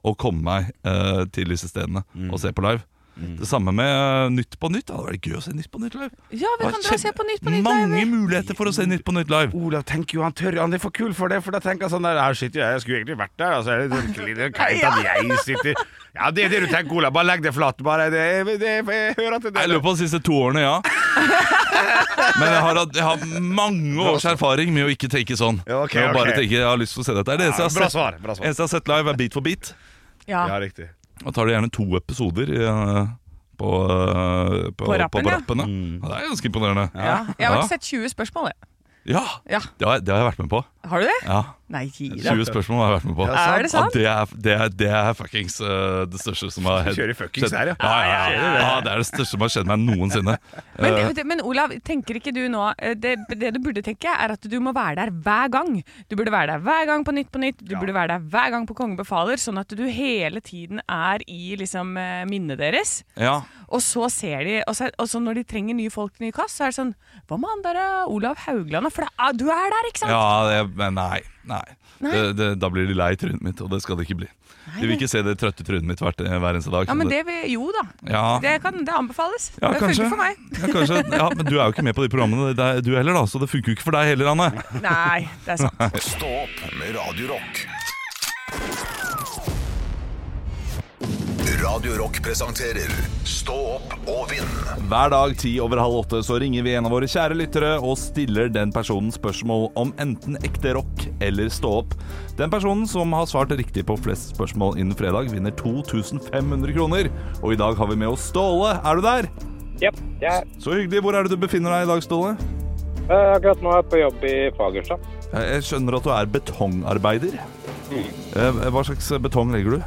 S3: å komme meg eh, til disse stedene og se på live.
S9: Det samme med eh, Nytt på Nytt. Det hadde vært gøy å se Nytt på Nytt live.
S4: Ja, vi
S9: Det var
S4: kan dra og se
S9: kjempe-
S4: på Nytt på Nytt
S9: Mange
S4: live.
S9: muligheter for å se Nytt på Nytt live.
S2: Olav tenker jo han tør, han er for kul for det, for da tenker han sånn der Her sitter jeg, jeg skulle egentlig vært der. Altså, er det [LAUGHS]
S9: sånn
S2: virkelig det er kleint at jeg sitter Ja, det er det du tenker, Olav. Bare legg det flatt. Bare det, det, Jeg hører at det
S9: Jeg løper på de siste to årene, ja. Men jeg har, hatt- jeg har mange års erfaring med å ikke tenke sånn.
S2: Ja, ok,
S9: med å bare
S2: ok.
S9: tenke jeg har lyst til å se dette. Det er det eneste
S2: Ja,
S9: jeg
S2: bra
S9: har sett,
S2: svar, bra svar.
S9: eneste jeg har sett live, er Beat for beat.
S4: Ja.
S2: Ja, riktig.
S9: Da tar det gjerne to episoder i, eh, på, eh, på,
S4: På rappen,
S9: på
S4: ja.
S9: rappen, ja.
S2: Mm.
S9: Ja, Det er ganske imponerende.
S4: Ja. Jeg har
S9: Ja.
S4: ikke sett 20 spørsmål, jeg.
S9: Ja,
S4: Ja.
S9: Det, har, det har jeg vært med på.
S4: Har du det?
S9: Ja,
S4: Nei, gi deg.
S9: 20 spørsmål har jeg vært med på.
S4: sant. Er det sant?
S9: Ja, det, er, det, er, det er fuckings eh, det største som har skjedd.
S2: Kjører fuckings her, ja.
S9: ja. Ja, ja, ja. Det er det største som har skjedd meg noensinne.
S4: Men,
S9: Eh.
S4: det- men Olav, tenker ikke du nå eh, det, det du burde tenke, er at du må være der hver gang. Du burde være der hver gang på Nytt på Nytt, du burde være der hver gang på Kongen befaler, sånn at du hele tiden er i liksom, eh, minnet deres.
S9: Ja,
S4: Og så ser de og så, og så når de trenger nye folk til nye kast, så er det sånn Hva med han der eh, Olav Haugland? da? For det, er- du er der, ikke sant?
S9: ja det, men nei. nei. Det, det, da blir de lei trynet mitt, og det skal de ikke bli. De vil ikke se det trøtte trynet mitt hvert, eh, hver eneste dag.
S4: Ja,
S9: så
S4: men
S9: det-
S4: det vil Jo da.
S9: Ja.
S4: Det, kan, det anbefales.
S9: Ja,
S4: det funker
S9: kanskje.
S4: for meg.
S9: Ja, kanskje, ja, Men du er jo ikke med på de programmene, det er du heller, da så det funker jo ikke for deg heller, Anne.
S4: Nei, det er
S9: [LAUGHS]
S4: sant.
S1: Stå opp med Radio Rock. Radio Rock presenterer Stå opp og vinn.
S3: Hver dag ti over halv åtte så ringer vi en av våre kjære lyttere og stiller den personen spørsmål om enten ekte rock eller stå opp. Den personen som har svart riktig på flest spørsmål innen fredag, vinner 2500 kroner. Og i dag har vi med oss Ståle. Er du der?
S6: Jepp. Jeg
S3: Så hyggelig. Hvor er det du befinner deg i dag, Ståle?
S6: eh, akkurat nå er jeg på jobb i Fagersta.
S3: Jeg Eh, jeg skjønner at du er betongarbeider.
S6: Mm.
S3: Eh, Hva slags betong legger du?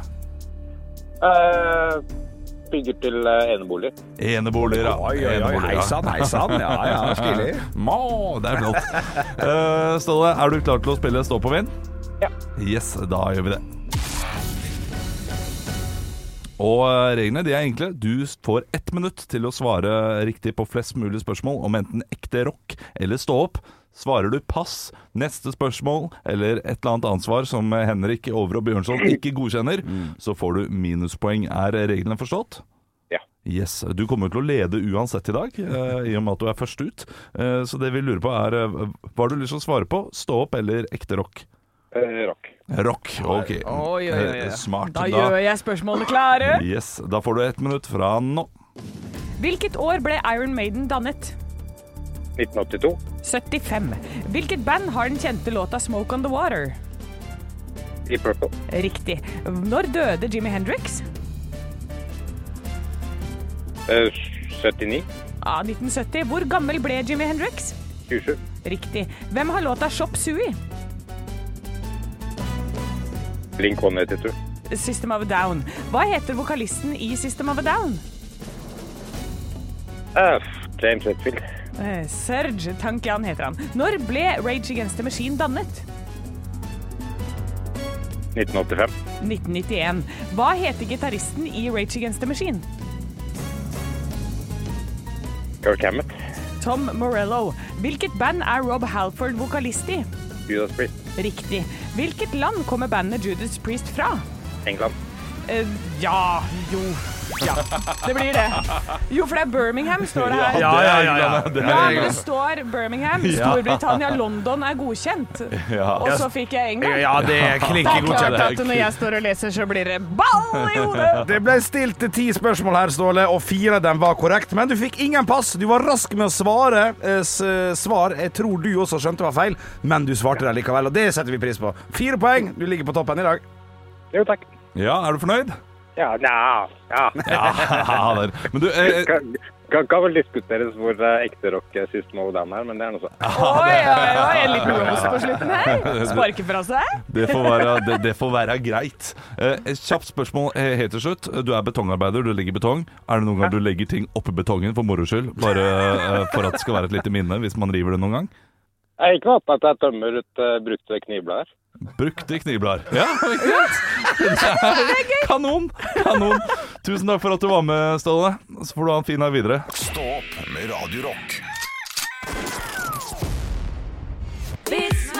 S6: Eh, bygger til eh, eneboliger.
S3: Eneboliger, ja.
S2: Oi, oi, oi.
S3: Eneboliger,
S2: Hei
S3: ja.
S2: sann, hei sann. Ja, ja, stilig.
S3: Må, det er flott.
S2: [LAUGHS]
S3: Eh, Ståle, er du klar til å spille Stå på vind?
S6: Ja.
S3: Yes, da gjør vi det. Og eh, reglene de er enkle. Du får ett minutt til å svare riktig på flest mulig spørsmål om enten ekte rock eller stå opp. Svarer du pass, neste spørsmål eller et eller annet ansvar som eh, Henrik Over og Bjørnson ikke godkjenner, så får du minuspoeng. Er eh, reglene forstått?
S6: Mm. Ja.
S3: Yes, Du kommer jo til å lede uansett i dag, eh, i og med at du er først ut. Eh, så det vi lurer på er eh, Hva har du lyst til å svare på? Stå opp eller ekte rock?
S6: Eh, rock.
S3: Rock, ok.
S4: Oi, oi, oi, oi.
S3: Eh, Smart.
S4: Da gjør jeg spørsmålene klare.
S3: Yes, da får du ett minutt fra nå.
S4: Hvilket år ble Iron Maiden dannet?
S6: 1982.
S4: 75. Hvilket band har den kjente låta 'Smoke on the Water'?
S6: I Purple.
S4: Riktig. Når døde Jimmy Hendrix?
S6: Eh, 79.
S4: Ja, 1970. Hvor gammel ble Jimmy Hendrix?
S6: 27.
S4: Riktig. Hvem har låta 'Shop Sui'?
S6: Blink 182.
S4: System of a Down. Hva heter vokalisten i System of a Down?
S6: Eh, James Hetfield.
S4: Eh, Serge Tankian heter han. Når ble Rage Against the Machine dannet?
S6: 1985.
S4: 1991. Hva heter gitaristen i Rage Against the Machine?
S6: Kirk Hammett.
S4: Tom Morello. Hvilket band er Rob Halford vokalist i?
S6: Judas Priest.
S4: Riktig. Hvilket land kommer bandet Judas Priest fra?
S6: England.
S4: Eh, ja Jo. Ja, det blir det. Jo, for det er Birmingham, står det her.
S2: Ja, ja, ja. ja.
S3: Det
S4: Ja,
S3: er
S4: men det
S3: England.
S4: står Birmingham. Storbritannia, London er godkjent. Og så fikk jeg England.
S2: Ja, det er
S4: Det
S2: klinke
S4: er klart
S2: godkjent.
S4: at når jeg står og leser, så blir det ball
S2: [LAUGHS]
S4: i hodet!
S2: Det ble stilt ti spørsmål her, Ståle, og fire av dem var korrekt. Men du fikk ingen pass. Du var rask med å svare eh, s svar jeg tror du også skjønte var feil, men du svarte det likevel, og det setter vi pris på. Fire poeng. Du ligger på toppen i dag.
S6: Jo, takk.
S3: Ja, er du fornøyd?
S6: Ja, nja ja.
S3: Ja, [LAUGHS] der. Men du, eh, eh,
S6: Kan, kan, kan vel diskuteres hvor eh, ekte rock eh, sist nå down er, men det er noe sånt.
S4: Oi, oi, oi, en liten roast på slutten her. Sparker fra seg.
S3: det, får være, det, det får være greit. Eh, et kjapt spørsmål eh, helt til slutt. Du er betongarbeider, du legger betong. Er det noen gang du legger ting oppi betongen for moro skyld? Bare eh, for at det skal være et lite minne hvis man river det noen gang?
S6: Jeg har ikke hatt at jeg tømmer ut eh, brukte knivblader.
S3: Brukte knivblader. Ja, ikke sant? Det er Kanon! Kanon. Tusen takk for at du var med, Ståle. Så får du ha en fin dag videre.
S1: Stå opp med Radio Rock.
S4: Vits Kyss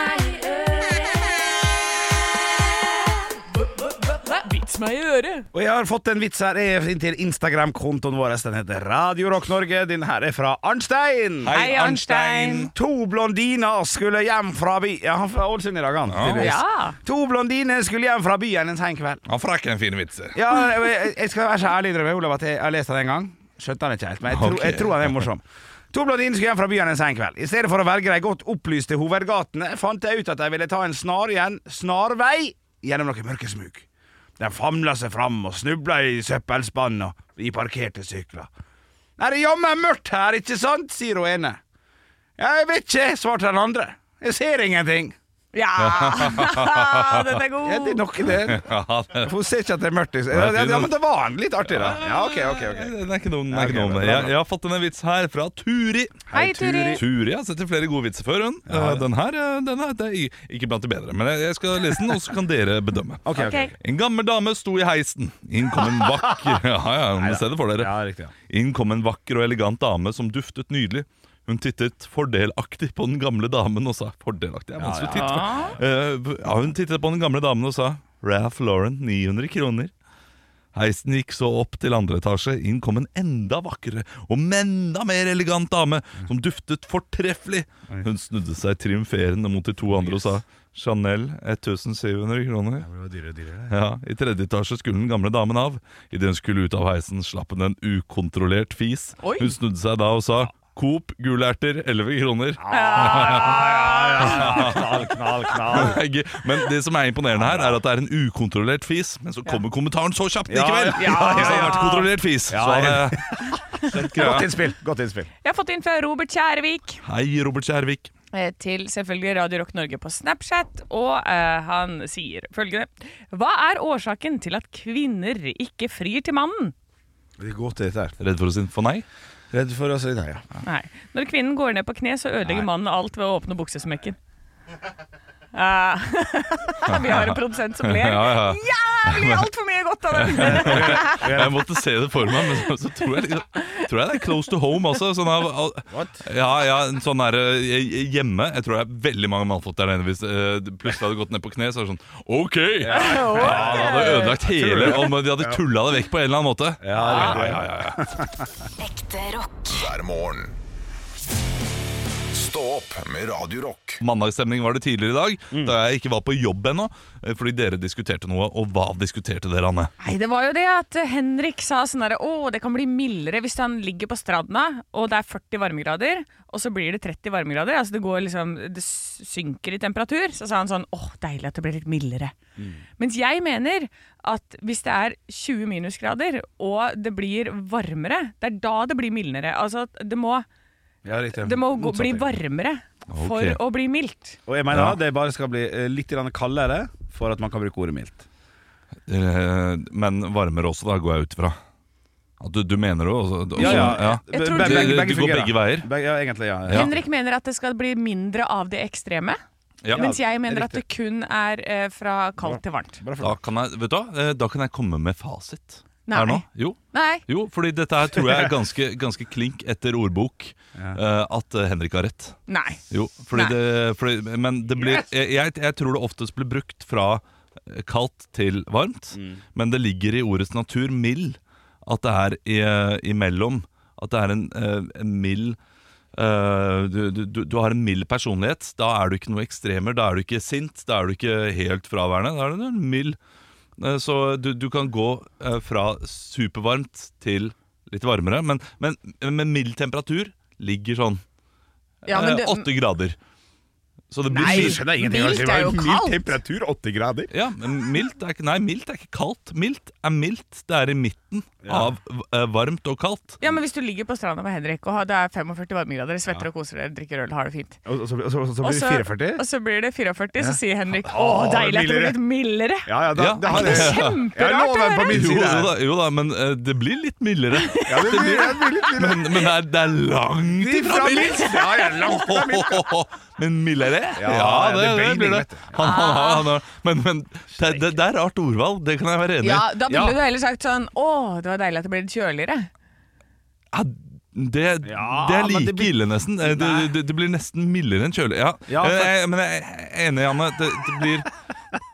S4: meg i øret.
S2: Og jeg har fått en vits her eh, inn til Instagram-kontoen vår. Den heter Radio Rock Norge. Den her er fra Arnstein.
S4: Hei, Arnstein.
S2: To blondiner skulle hjem fra by... Ja, han er fra Ålesund i dag, han. tydeligvis.
S4: Ja.
S2: To blondiner skulle hjem fra byen en sein kveld.
S3: Han frakker en fin vits.
S2: Ja, jeg, jeg skal være så ærlig innrømme, Olav, at jeg jeg har lest den en gang. Skjønte den ikke helt, men jeg, tror- jeg
S3: Ok.
S2: tror den er morsom. To blondiner skulle hjem fra byen en sein kveld. I stedet for å velge de godt opplyste hovedgatene, fant jeg ut at de ville ta en snar igjen, snarvei gjennom noe mørke smug. De famla seg fram og snubla i søppelspann og i parkerte sykler. Nei, det er jammen mørkt her, ikke sant? sier hun ene. Jeg vet ikke, svarte den andre. Jeg ser ingenting. [LAUGHS]
S4: Ja, [LAUGHS] den er god.
S2: Ja, det er nok det.
S3: [LAUGHS] Ja,
S2: [LAUGHS]
S3: det,
S2: For hun ser ikke at det er mørkt. liksom. Ja, ja, ja, men det var han litt artig, da. Ja, ok, ok, ok.
S3: Den er ikke dum. den er
S2: Ja,
S3: ikke
S2: ok,
S3: dum.
S2: bra, bra.
S3: Jeg, jeg har fått en vits her fra Turi.
S4: Hei, Turi.
S3: Turi har sett flere gode vitser før. Hun. Eh, Den her eh, den er, det er i- ikke blant de bedre, men jeg- jeg skal lese den, og så kan dere bedømme.
S2: [LAUGHS] Ok, ok.
S4: Ok.
S3: En gammel dame sto i heisen. Inn kom en
S2: [LAUGHS]
S3: vakker Ja, ja, hun bestemmer for dere.
S2: Ja, riktig, ja.
S3: Inn kom en vakker og elegant dame som duftet nydelig. Hun tittet fordelaktig på den gamle damen og sa Fordelaktig er vanskelig å titte på. Eh, ja, hun tittet på den gamle damen og sa Ralph Lauren, 900 kroner. Heisen gikk så opp til andre etasje. Inn kom en enda vakrere og enda mer elegant dame som duftet fortreffelig. Hun snudde seg triumferende mot de to andre og sa Chanel 1700 kroner. Ja, I tredje etasje skulle den gamle damen av. Idet hun skulle ut av heisen, slapp hun en ukontrollert fis.
S4: Oi.
S3: Hun snudde seg da og sa Coop gulerter 11 kroner. Begge. Men det som er imponerende her, er at det er en ukontrollert fis. Men så kommer kommentaren så kjapt likevel!
S2: ja, ja,
S3: Hvis det hadde
S2: ja.
S3: vært kontrollert fis, så hadde
S2: Godt innspill. Godt innspill.
S4: Jeg har fått inn fra Robert Kjærvik
S3: Hei, Robert Kjærvik.
S4: eh, til selvfølgelig Radio Rock Norge på Snapchat, og eh, han sier følgende Hva er årsaken til at kvinner ikke frir til mannen?
S2: Det er godt dette her.
S3: Redd for å si for [LAUGHS] nei?
S2: Redd for å si nei, ja.
S4: Nei. Når kvinnen går ned på kne, så ødelegger mannen alt ved å åpne buksesmekken. Ah, [LAUGHS] vi har en produsent som ler
S3: [LAUGHS] Ja, ja. [LAUGHS]
S4: jævlig altfor mye godt av den!
S3: Jeg måtte se det for meg, men så, så tror, jeg, liksom- tror jeg det er close to home også. Sånn av, al- ja, ja, en sånn der, eh, hjemme Jeg tror det er veldig mange mannfolk der nede. Hvis eh, det plutselig hadde gått ned på kne, så er det sånn OK! Ja, det hadde ødelagt hele Om de hadde tulla det vekk på en eller annen måte.
S11: Ekte rock.
S1: hver morgen. Stå opp med Radio Rock.
S3: Mandagsstemning var det tidligere i dag, da jeg ikke var på jobb ennå. eh, Fordi dere diskuterte noe. Og hva diskuterte dere, Anne?
S4: Nei, det var jo det at Henrik sa sånn derre Å, det kan bli mildere hvis han ligger på stranda, og det er 40 varmegrader, og så blir det 30 varmegrader. Altså det går liksom Det s- synker i temperatur. Så sa han sånn Å, deilig at det blir litt mildere.
S2: Mm.
S4: Mens jeg mener at hvis det er 20 minusgrader, og det blir varmere, det er da det blir mildere. Altså at det må
S2: ja riktig.
S4: Det må gå,
S2: Motsatt,
S4: bli
S2: ja.
S4: varmere for
S3: Ok.
S4: å bli mildt.
S2: Og jeg mener det bare skal bli eh, litt grann kaldere for at man kan bruke ordet mildt.
S3: Eh, Men varmere også, da, går jeg ut ifra. At Du, du mener det også? også-
S2: Ja, ja.
S4: Jeg tror-
S2: Be-
S3: Du- du går
S2: fungerer.
S3: begge veier.
S2: Begge, ja, egentlig, ja. ja.
S4: Henrik mener at det skal bli mindre av det ekstreme,
S3: Ja.
S4: mens jeg
S2: det
S4: mener
S2: er
S4: at det kun er eh, fra kaldt til varmt.
S2: Bra
S3: Da
S2: for deg.
S3: kan jeg, vet du hva? Eh, Da kan jeg komme med fasit
S4: Nei.
S3: her nå. Jo.
S4: Nei.
S3: jo, fordi dette her tror jeg er ganske, ganske klink etter ordbok eh, at eh, Henrik har rett.
S4: Nei.
S3: Jo, fordi
S4: Nei.
S3: det, fordi, Men det blir, jeg, jeg, jeg tror det oftest blir brukt fra eh, kaldt til varmt, men det ligger i ordets natur mild at det er i, eh, imellom. At det er en, eh, en mild eh, du, du, du- du har en mild personlighet. Da er du ikke noe ekstremer. Da er du ikke sint. Da er du ikke helt fraværende. Da er du en mild. Eh, Så du, du kan gå eh, fra supervarmt til litt varmere. Men, men, men mild temperatur ligger sånn
S4: Ja, men
S3: eh,
S4: det-
S3: åtte grader. Så det blir
S4: Nei,
S3: mild-
S4: skjønner ingenting. mildt er jo kaldt.
S9: temperatur, 80 grader.
S3: Ja, men mildt er ikke, nei, mildt er ikke kaldt. Mildt er mildt. Det er i midten av eh, varmt og kaldt.
S4: Ja, men Hvis du ligger på stranda med Henrik og har- det er 45 varmegrader, svetter og koser dere, drikker øl, har det fint.
S2: Og og så, og så, og så
S4: Og
S2: blir
S4: så-
S2: det 44?
S4: Og så blir det 44, så sier Henrik å, deilig at det blir litt mildere.
S9: Ja, ja, da,
S3: Ja.
S9: da har
S4: Det
S9: jeg,
S4: er
S9: jeg har
S4: kjemperart å
S9: loven på
S4: høre!
S9: min
S3: Jo, jo,
S9: side. her.
S3: da, jo da, men eh, det blir litt mildere.
S9: [LAUGHS] Ja, det blir, det blir litt
S3: Men, men det, er, det er langt ifra
S9: fra
S3: mildt!
S9: mildt. Ja, ja, langt fra mildt.
S3: [LAUGHS] Men mildere? Ja,
S9: ja,
S3: det, det,
S9: det er Ah.
S3: blir
S9: beining,
S3: det.
S9: vet du.
S3: Han, han, han, han, men men det, det, det er rart ordvalg, det kan jeg være enig i.
S4: Ja, Da ville du heller sagt sånn å, det var deilig at det ble litt kjøligere.
S3: Ja, det, det er
S2: men
S3: like
S2: det blir-
S3: ille, nesten. Eh, Det, det, det blir nesten mildere enn kjølig. Ja.
S2: Ja, for-
S3: Eh, jeg- Men jeg er enig, Janne. Det, det blir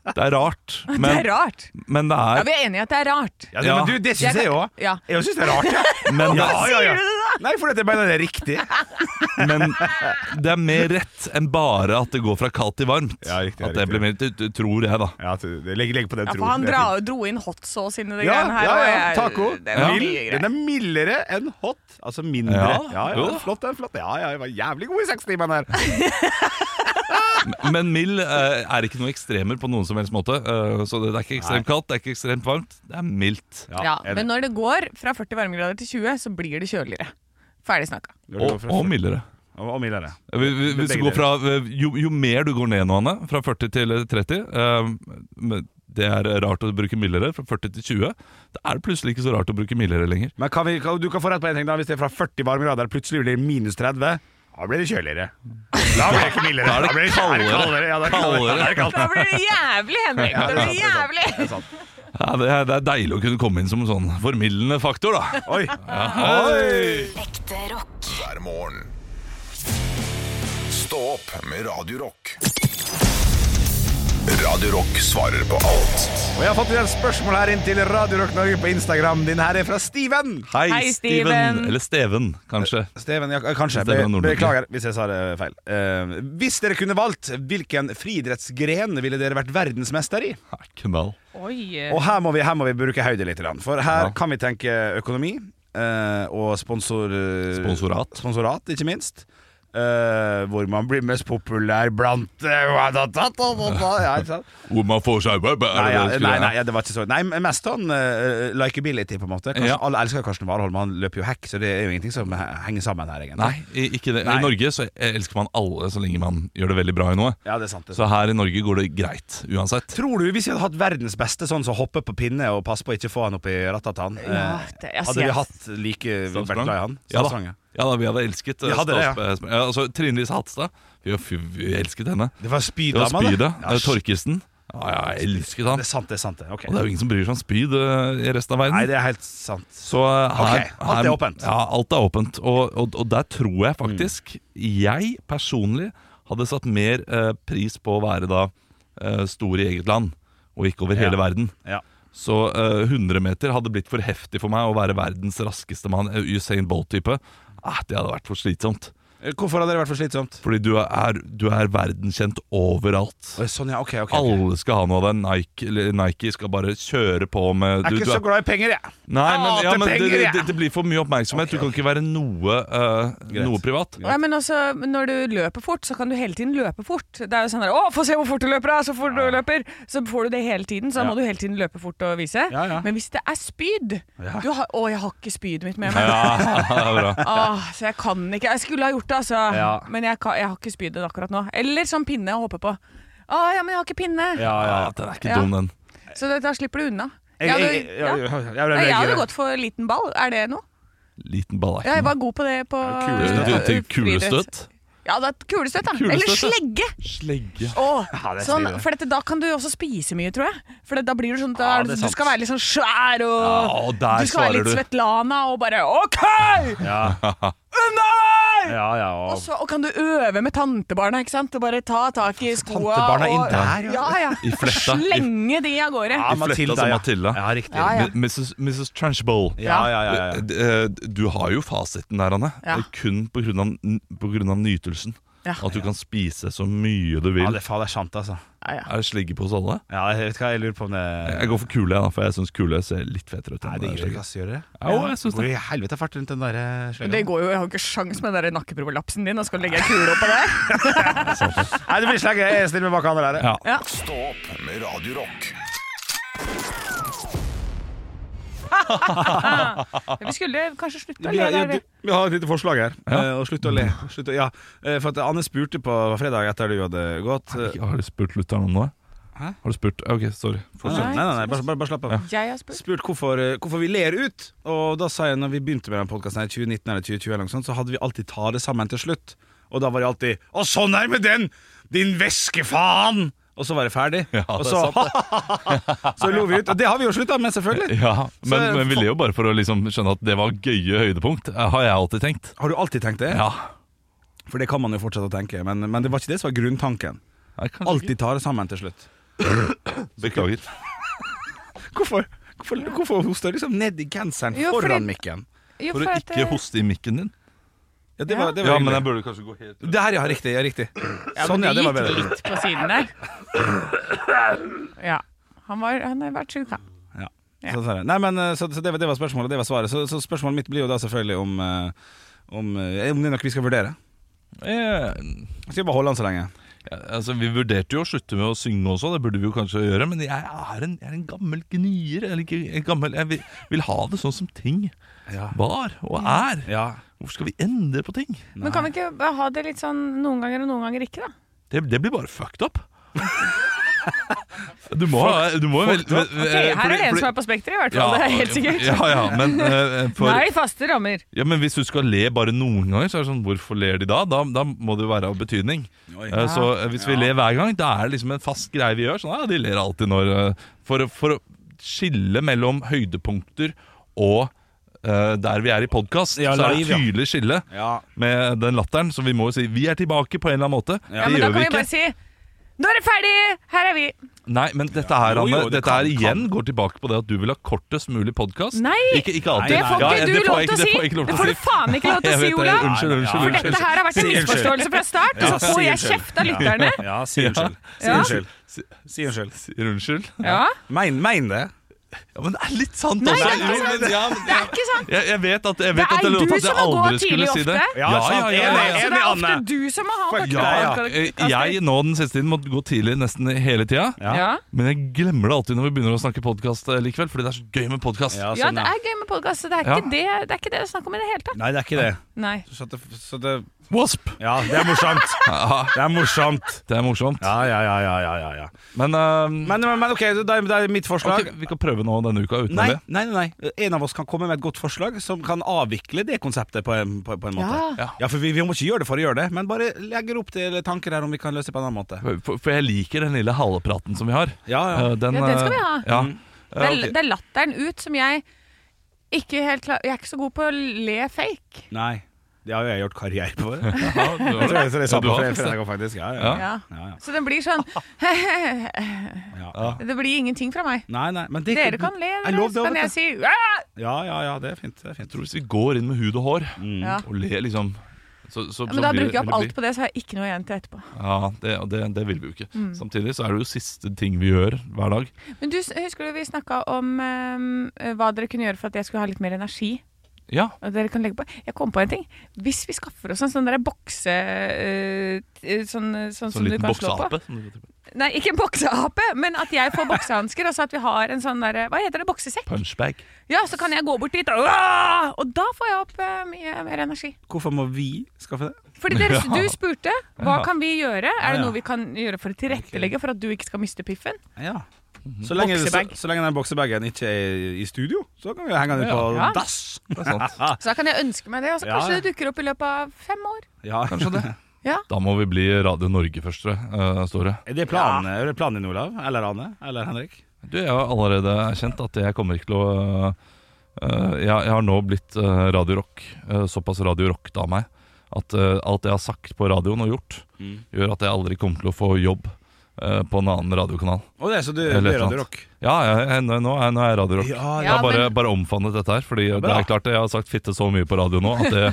S3: Det er rart.
S4: Det
S3: Men
S4: er rart.
S3: men det
S4: Ja,
S3: er
S4: Vi er enige i at det er rart.
S9: Ja, det,
S3: Ja.
S9: Men du, det
S4: Jeg
S9: syns jeg
S4: kan-
S9: òg.
S4: ja.
S9: Jeg syns det er
S4: [LAUGHS]
S9: rart, ja.
S3: Men det,
S9: Ja, ja,
S4: Sier
S9: ja.
S4: du det, da?
S9: Nei, fordi at jeg mener det er riktig.
S3: [LAUGHS] men det er mer rett enn bare at det går fra kaldt til varmt.
S2: Ja, riktig,
S3: at det
S2: riktig.
S3: blir mer, det- det tror jeg, da.
S2: Ja, det- det- legg, legg på den
S4: Ja,
S2: troen.
S4: for han
S2: det er
S4: dra,
S2: fint.
S4: dro inn hot sauce inn i det
S2: ja,
S4: greiene her.
S2: ja,
S4: og
S2: ja,
S4: jeg-
S2: taco.
S4: Det var
S2: Mild.
S4: mye
S2: Den
S4: greier.
S2: er mildere enn hot. Altså mindre.
S3: Ja,
S2: ja, ja
S3: jo.
S2: den er flott, den er flott. Ja, ja, jeg var jævlig god i sextimeren her.
S3: Men mild eh, er ikke noe ekstremer på noen som helst måte. eh, så det, det er ikke ekstremt kaldt, det er ikke ekstremt varmt. Det er mildt.
S4: Ja,
S2: enig.
S4: men når det går fra 40 varmegrader til 20, så blir det kjøligere. Ferdig snakka.
S2: Når
S3: Og,
S2: du går fra-
S3: og mildere.
S2: Og, og mildere.
S3: Eh, vi- vi- Hvis du
S2: Begge
S3: går fra, eh, jo, jo mer du går ned nå, Anne, fra 40 til 30 eh, men Det er rart å bruke mildere, fra 40 til 20. Da er det plutselig ikke så rart å bruke mildere lenger.
S2: Men kan vi, kan, du kan få rett på en ting da Hvis det er fra 40 varme grader plutselig blir det minus 30 Da blir det kjøligere Da blir det ikke mildere
S3: Da er det
S2: blir
S3: kaldere.
S2: Ja, det er kaldere, Ja,
S3: Kaldere.
S2: det er kaldt.
S4: [LAUGHS] Da blir det jævlig, Henrik! Da blir det jævlig!
S2: Det er sant.
S3: Ja, det, er, det er deilig å kunne komme inn som en sånn formildende faktor, da.
S2: Oi
S8: Ekte rock.
S1: hver morgen. Stå opp med Radio Rock. Radio Rock svarer på alt
S2: Og jeg har fått et spørsmål her inn til Radio Rock Norge på Instagram Din her er fra Steven
S3: Hei,
S4: Hei,
S3: Steven.
S4: Steven.
S3: Eller Steven, kanskje.
S2: Steven, ja, kanskje
S3: Steven
S2: Be-
S3: Nordby.
S2: Beklager hvis jeg sa det feil Eh, Hvis dere kunne valgt Hvilken friidrettsgren ville dere vært verdensmester i?
S3: Ja, Knall.
S4: [LAUGHS] Oi.
S2: Og her må vi, her må vi bruke høyde litt grann, For her
S3: Ja.
S2: kan vi tenke økonomi eh, Og sponsor, eh,
S3: Sponsorat.
S2: Sponsorat, ikke minst Eh, Hvor man blir mest populær Blant eh, hva da, da, da, da, da, ja, ikke sant?
S3: Hvor man får seg Nei,
S2: Nei, ja, nei, nei, ja, det var ikke så Nei, men mest sånn eh, likability på en måte Karsten,
S3: Ja.
S2: Alle elsker Karsten Warholm, han løper jo hekk Så det er jo ingenting som he- henger sammen her egentlig
S3: Nei, i- ikke det.
S2: Nei.
S3: I Norge så elsker man alle så lenge man gjør det veldig bra i noe.
S2: Ja, det er sant, det er sant.
S3: Så her i Norge går det greit uansett.
S2: Tror du hvis vi hadde hatt verdens beste sånn som hopper på pinne Og passer på å ikke få han opp i rattatan
S4: Ja,
S2: eh,
S4: det- jeg
S2: Hadde
S4: ser-
S2: vi hatt like vært glad i han
S3: Ja da.
S2: Statsrang, ja.
S3: ja da, vi hadde elsket
S2: Vi
S3: eh,
S2: hadde det, ja.
S3: Stas- eh, altså, Trine Lise Hatstad. Vi, vi, vi elsket henne.
S2: Det var
S3: Det var
S2: spydama,
S3: Spydet.
S2: Ja,
S3: eh, Torkesen. Ja, ja, jeg elsket han.
S2: Det er sant, det er sant. det. Ok.
S3: Og det er jo ingen som bryr seg om spyd eh, i resten av verden.
S2: Nei, det er helt sant.
S3: Så eh, her,
S2: Ok, alt er
S3: her-
S2: åpent.
S3: Ja, alt er åpent. Og, og, og der tror jeg faktisk
S2: Mm.
S3: jeg personlig hadde satt mer eh, pris på å være da eh, stor i eget land, og ikke over hele verden.
S2: Ja.
S3: Så eh, 100 meter hadde blitt for heftig for meg å være verdens raskeste mann, eh, Usain Bolt-type. Ah, det hadde vært for slitsomt.
S2: Eh, Hvorfor hadde det vært for slitsomt?
S3: Fordi du er, du er verdenskjent overalt.
S2: Å, Sånn, ja, ok, ok, ok.
S3: Alle skal ha noe av det. Nike, eller Nike skal bare kjøre på med
S2: Jeg er
S3: du-
S2: ikke
S3: du
S2: så glad i penger, jeg.
S3: Nei, men,
S2: Hater
S3: ja, men det,
S2: penger,
S3: det,
S2: jeg.
S3: det, det blir for mye oppmerksomhet. Du kan ikke være noe, eh,
S2: Greit.
S3: noe privat.
S4: Nei, men også, Når du løper fort, så kan du hele tiden løpe fort. Det er jo sånn der, 'Å, få se hvor fort du løper, da!' Så fort du løper, så får du det hele tiden. Så da må du hele tiden løpe fort og vise.
S2: Ja, ja.
S4: Men hvis det er spyd du har, 'Å, jeg har ikke spydet mitt med
S3: [LAUGHS]
S4: meg.' [LAUGHS]
S3: Ja, det er bra.
S4: Åh, så jeg kan ikke Jeg skulle ha gjort det, altså.
S2: Ja.
S4: Men jeg, kan, jeg har ikke spydet akkurat nå. Eller som pinne å hoppe på. Å ja, men jeg har ikke pinne.
S3: Ja, Ah, den er ikke
S4: Ja.
S3: dum, den.
S4: Så det, da slipper du unna.
S2: Jeg,
S4: Jeg
S2: jeg,
S4: hadde-
S2: jeg, jeg, jeg,
S4: ja.
S2: jeg, ble
S4: Nei, jeg hadde
S2: reagert.
S4: gått for liten ball. Er det noe?
S3: Liten ball er
S4: Ja, jeg
S3: ikke
S4: var god på det på
S2: Kulestøt.
S3: noe. Til
S4: friidrett.
S3: kulestøt.
S4: Ja, det er kulestøt, da.
S3: Kulestøt,
S4: Eller
S3: ja.
S4: slegge!
S3: Slegge.
S4: Åh,
S2: Ja, det er
S4: sånn,
S2: stilig.
S4: for dette, da kan du også spise mye, tror jeg. For det, da blir du sånn da,
S2: Ja,
S4: er du-
S2: det er
S4: Du
S2: sant.
S4: skal være litt sånn svær og
S3: Ja, og der
S4: Du skal være
S3: svarer
S4: litt
S3: du.
S4: Svetlana og bare OK!
S2: Ja,
S4: [LAUGHS] Unna meg!
S2: ja, ja,
S4: Og,
S2: og,
S4: så, og kan du øve med tantebarna, ikke sant? Og bare ta tak i skoa
S2: tantebarna
S4: og
S2: inn der,
S4: ja. Ja,
S3: I fletta. I-
S4: Slenge de av gårde.
S2: ja,
S3: I fletta som Matilda.
S2: Ja, riktig.
S4: Ja, ja.
S3: M- Mrs. Mrs. Trunchbull.
S2: Ja, ja, ja, ja.
S3: D- eh, Du har jo fasiten der, Anne.
S4: Ja.
S3: Det er Kun på grunn, av, n- på grunn av nytelsen.
S4: Ja.
S3: At du kan spise så mye du vil.
S2: ja det, faen, det er sant, altså.
S4: Ja, ja.
S3: Er det slegge på oss alle?
S2: Ja, jeg vet hva, jeg lurer på om det
S3: Jeg går for kule, ja, for jeg syns kule ser litt fetere ut. enn
S2: Nei, det gjør
S3: slegge.
S2: ikke, ass. Gjør det?
S3: Ja, jo, jeg synes
S2: Hvor
S3: det.
S2: i helvete har fart rundt den der eh,
S4: Men
S2: slegga?
S4: Det går jo, Jeg har jo ikke sjans med den der nakkeprolapsen din. Og skal legge en kule oppå
S3: [LAUGHS]
S4: der.
S2: Nei, det blir slegge. Jeg stiller meg bak han der.
S3: Ja.
S1: Stå opp med Radio Rock
S4: Vi skulle kanskje slutte å
S2: Vi
S4: le
S2: har, ja,
S4: der.
S2: du,
S4: vi.
S2: vi har et lite forslag her.
S3: Ja.
S2: Eh, og slutt å le. Slutt å, ja. eh, for at Anne spurte på fredag etter du hadde gått. eh,
S3: Har du spurt lytteren om noe? Har du spurt? Ok, sorry.
S2: Nei, nei, nei, nei bare, bare, bare slapp av.
S4: Jeg har spurt.
S2: Spurt hvorfor, eh, hvorfor vi ler ut. Og da sa jeg når vi begynte med den podkasten i 2019 eller 2020, eller noe sånt, så hadde vi alltid ta det sammen til slutt. Og da var det alltid 'Å, sånn er det med den! Din væskefaen!' Og så var det ferdig.
S3: Ja,
S2: og
S3: det
S2: så,
S3: er
S2: [LAUGHS] så lo vi ut. Og det har vi jo slutta med, selvfølgelig.
S3: Ja, men,
S2: Så-
S3: men vi ler jo bare for å liksom skjønne at det var gøye høydepunkt, eh, har jeg alltid tenkt.
S2: Har du alltid tenkt det?
S3: Ja,
S2: For det kan man jo fortsette å tenke. Men, men det var ikke det som var grunntanken.
S3: Nei, kanskje ikke.
S2: Alltid ta det sammen til slutt.
S3: Beklager.
S2: Hvorfor, hvorfor, hvorfor hoster jeg liksom ned i genseren
S12: Jo, fordi-
S2: foran mikken?
S12: Jo,
S3: For å
S12: at,
S3: ikke
S12: eh,
S3: hoste i mikken din.
S2: Ja, det var, det var
S3: Ja,
S2: hyggelig.
S3: men jeg burde kanskje gå helt
S2: Det her, ja. Riktig. ja, riktig Sånn, ja. Det var bedre.
S4: Litt på siden [COUGHS] der. Ja. Han, var, han har vært sjuk, han. Ja.
S2: Sånn, sånn, ja. Nei, men, eh, så, så det, var- det var spørsmålet. Det var svaret. Så, så spørsmålet mitt blir jo da selvfølgelig om eh, om, eh, om det er noe vi skal vurdere.
S3: Eh,
S2: Skal vi bare holde den så lenge?
S3: Ja, altså, vi vurderte jo å slutte med å synge også, det burde vi jo kanskje gjøre, men jeg er en, jeg er en gammel gnier. Eller ikke en gammel Jeg vil, vil ha det sånn som ting var og er.
S2: Ja.
S3: Hvorfor skal vi endre på ting?
S12: Men kan vi ikke bare ha det litt sånn noen ganger og noen ganger ikke, da?
S3: Det, det blir bare fucked up. Du må ha du må, vel- vel-
S4: Ok, her er
S3: Eh, fordi-
S4: det en
S3: fordi-
S4: som er på spekteret, i hvert fall. det er helt sikkert.
S3: Ja, ja, men,
S4: [LAUGHS]
S3: eh, for,
S4: Nei, faste rammer.
S3: ja, men hvis du skal le bare noen ganger, så er det sånn Hvorfor ler de da? Da, da må det jo være av betydning. Eh, Så eh, hvis vi ler hver gang, da er det liksom en fast greie vi gjør. Sånn, ja, de ler alltid når eh, For, å- for å skille mellom høydepunkter og eh, der vi er i podkast,
S2: Ja,
S3: så er det
S2: live, ja.
S3: tydelig skille
S2: Ja.
S3: med den latteren. Så vi må jo si 'vi er tilbake' på en eller annen måte.
S4: Ja,
S3: Det
S4: men da
S3: gjør
S4: kan
S3: vi
S4: vi
S3: ikke.
S4: bare si Nå er det ferdig! Her er vi!
S3: Nei, men dette her,
S2: Jo, jo,
S3: Anne,
S2: det
S3: dette
S2: kan-
S3: her igjen
S2: kan.
S3: går tilbake på det at du vil ha kortest mulig podkast.
S4: Nei,
S3: Ikke, ikke alltid.
S4: Det får
S3: Ja,
S4: ikke du
S3: det får
S4: lov
S3: jeg
S4: til
S3: ikke-
S4: å si!
S3: Det får jeg ikke lov til
S4: Det
S3: å
S4: får
S3: si.
S4: du faen
S3: [LAUGHS]
S4: ikke lov til
S3: Jeg
S4: å si,
S3: vet det.
S4: Olav!
S3: Unnskyld, unnskyld.
S4: For
S3: unnskyld.
S4: dette her har vært en
S2: Si unnskyld.
S4: misforståelse fra start, og så får jeg kjeft av lytterne.
S2: Ja, si unnskyld. Si
S4: Ja.
S2: unnskyld. Si unnskyld.
S3: Sier unnskyld.
S4: Ja,
S2: Mein, mein det.
S3: Ja, men det er litt sant
S4: Nei,
S3: også.
S4: det er ikke
S3: Jo, men-
S4: sant.
S3: ja, men-
S4: Det er ikke sant!
S3: Jeg, jeg vet at jeg,
S4: Det
S3: vet at
S4: er
S3: jeg lovte
S4: du
S3: at jeg
S4: som må gå
S3: aldri skulle
S4: tidlig
S3: si det.
S4: ofte.
S2: Ja, sant.
S4: Ja,
S2: Enig,
S4: så
S2: enig,
S4: det er
S2: Anne.
S4: ofte du som må ha
S2: Fuck,
S4: kortere
S3: Ja, ja.
S4: podkast.
S3: Eh, Jeg nå den siste tiden måtte gå tidlig nesten hele tida.
S4: Ja.
S3: Men jeg glemmer det alltid når vi begynner å snakke podkast likevel, fordi det er så gøy med podkast.
S2: Ja,
S4: ja,
S2: sånn,
S4: det
S2: ja.
S4: er gøy med podkast. Det, er
S3: Ja.
S4: ikke det det er ikke det det er snakk om i det hele tatt.
S2: Nei, det er ikke det.
S4: Nei.
S2: Så det, så det
S3: Wasp!
S2: Ja, det er morsomt. Det er morsomt.
S3: Det er morsomt.
S2: Ja, ja, ja, ja, ja, ja, ja.
S3: Men, ehm,
S2: Men, men, men ok, det er, det er mitt forslag.
S3: ok, vi kan prøve nå denne uka uten
S2: Nei,
S3: det.
S2: nei, nei, nei. En av oss kan komme med et godt forslag som kan avvikle det konseptet på en, på, på en måte.
S4: Ja.
S3: Ja.
S2: Ja, for vi, vi må ikke gjøre det for å gjøre det, men bare legger opp til tanker her om vi kan løse det på en annen måte.
S3: For, for jeg liker den lille halepraten som vi har.
S2: Ja, Mm. ja.
S3: Eh, den,
S4: Ja, den skal vi
S3: eh,
S4: ha.
S3: Ja.
S4: Det
S3: Eh,
S4: er,
S3: ok.
S4: det er latteren ut som jeg ikke helt klar Jeg er ikke så god på å le fake.
S2: Nei. Det har jo jeg gjort karriere
S3: [LAUGHS]
S2: på.
S3: Ja, du
S2: [LAUGHS]
S3: har
S2: Jeg tror
S3: det.
S2: jeg- så det
S3: Ja,
S2: sa
S3: du
S2: på
S3: har
S2: fre-
S3: det.
S2: fredag faktisk. Ja, ja.
S3: Ja.
S2: ja.
S4: Ja.
S2: ja, ja.
S4: Så den blir sånn Det blir ingenting fra meg.
S2: Nei, nei, men det,
S4: Dere kan le,
S2: Jeg
S4: dere,
S2: lov
S4: så
S2: det,
S4: kan jeg
S2: vet du.
S4: si «Ah!»
S2: Ja, ja, ja, det er fint. Det er fint.
S3: Jeg tror hvis vi går inn med hud og hår
S4: ja.
S3: og ler, liksom så, så,
S4: Ja,
S3: så
S4: Men da
S3: blir det-
S4: bruker jeg opp
S3: vil
S4: alt
S3: det bli-
S4: på det, så har jeg ikke noe igjen til etterpå.
S3: Ja, det, og det, det vil vi jo ikke.
S4: Mm.
S3: Samtidig så er det jo siste ting vi gjør hver dag.
S4: Men du, s- Husker du vi snakka om eh, hva dere kunne gjøre for at jeg skulle ha litt mer energi?
S3: Ja,
S4: Og dere kan legge på Jeg kom på en ting. Hvis vi skaffer oss en sånn der bokse... eh, t- sånn, sånn,
S3: sånn
S4: som du
S3: liten
S4: kan slå på.
S3: bokseape. som du kan tro på.
S4: Nei, ikke en bokseape, men at jeg får boksehansker, og så at vi har en sånn derre Hva heter det? Boksesekk?
S3: Punchbag.
S4: Ja, så kan jeg gå bort dit, og, «Åh!» og da får jeg opp eh, mye mer energi.
S2: Hvorfor må vi skaffe det?
S4: Fordi
S3: [LAUGHS]
S4: dere,
S3: Ja.
S4: Du spurte hva
S3: Ja.
S4: kan vi gjøre. Er
S2: Ja, ja.
S4: det noe vi kan gjøre for å tilrettelegge for at du ikke skal miste piffen?
S2: Ja.
S3: Mhm.
S2: Så lenge, så,
S4: Boksebag.
S2: så lenge den boksebagen ikke er i studio, så kan vi henge den ut på
S4: Ja.
S2: dass.
S3: Det er
S2: [LAUGHS]
S3: sant.
S4: Så da kan jeg ønske meg det, og så
S2: Ja,
S4: kanskje
S2: ja.
S4: det dukker opp i løpet av fem år.
S2: Ja.
S3: Da må vi bli Radio Norge først, tror jeg, eh, Store.
S2: Er det planen, er det planen din, Olav? Eller Ane? Eller Henrik?
S3: Du, jeg har allerede erkjent at jeg kommer ikke til å eh, jeg, jeg har nå blitt eh, Radio Rock, eh, såpass Radio Rock av meg, at eh, alt jeg har sagt på radioen og gjort, gjør at jeg aldri kommer til å få jobb eh, på en annen radiokanal.
S2: Å, det er så du
S3: Eller
S2: blir
S3: et eller
S2: Radio
S3: annet.
S2: Rock?
S3: Ja, jeg, jeg, nå, er- nå er jeg Radio Rock.
S2: Ja,
S3: Jeg har
S4: Ja,
S3: bare,
S4: men-
S3: bare omfavnet dette her, fordi det
S2: bra.
S3: er klart jeg har sagt fitte så mye på radio nå at det,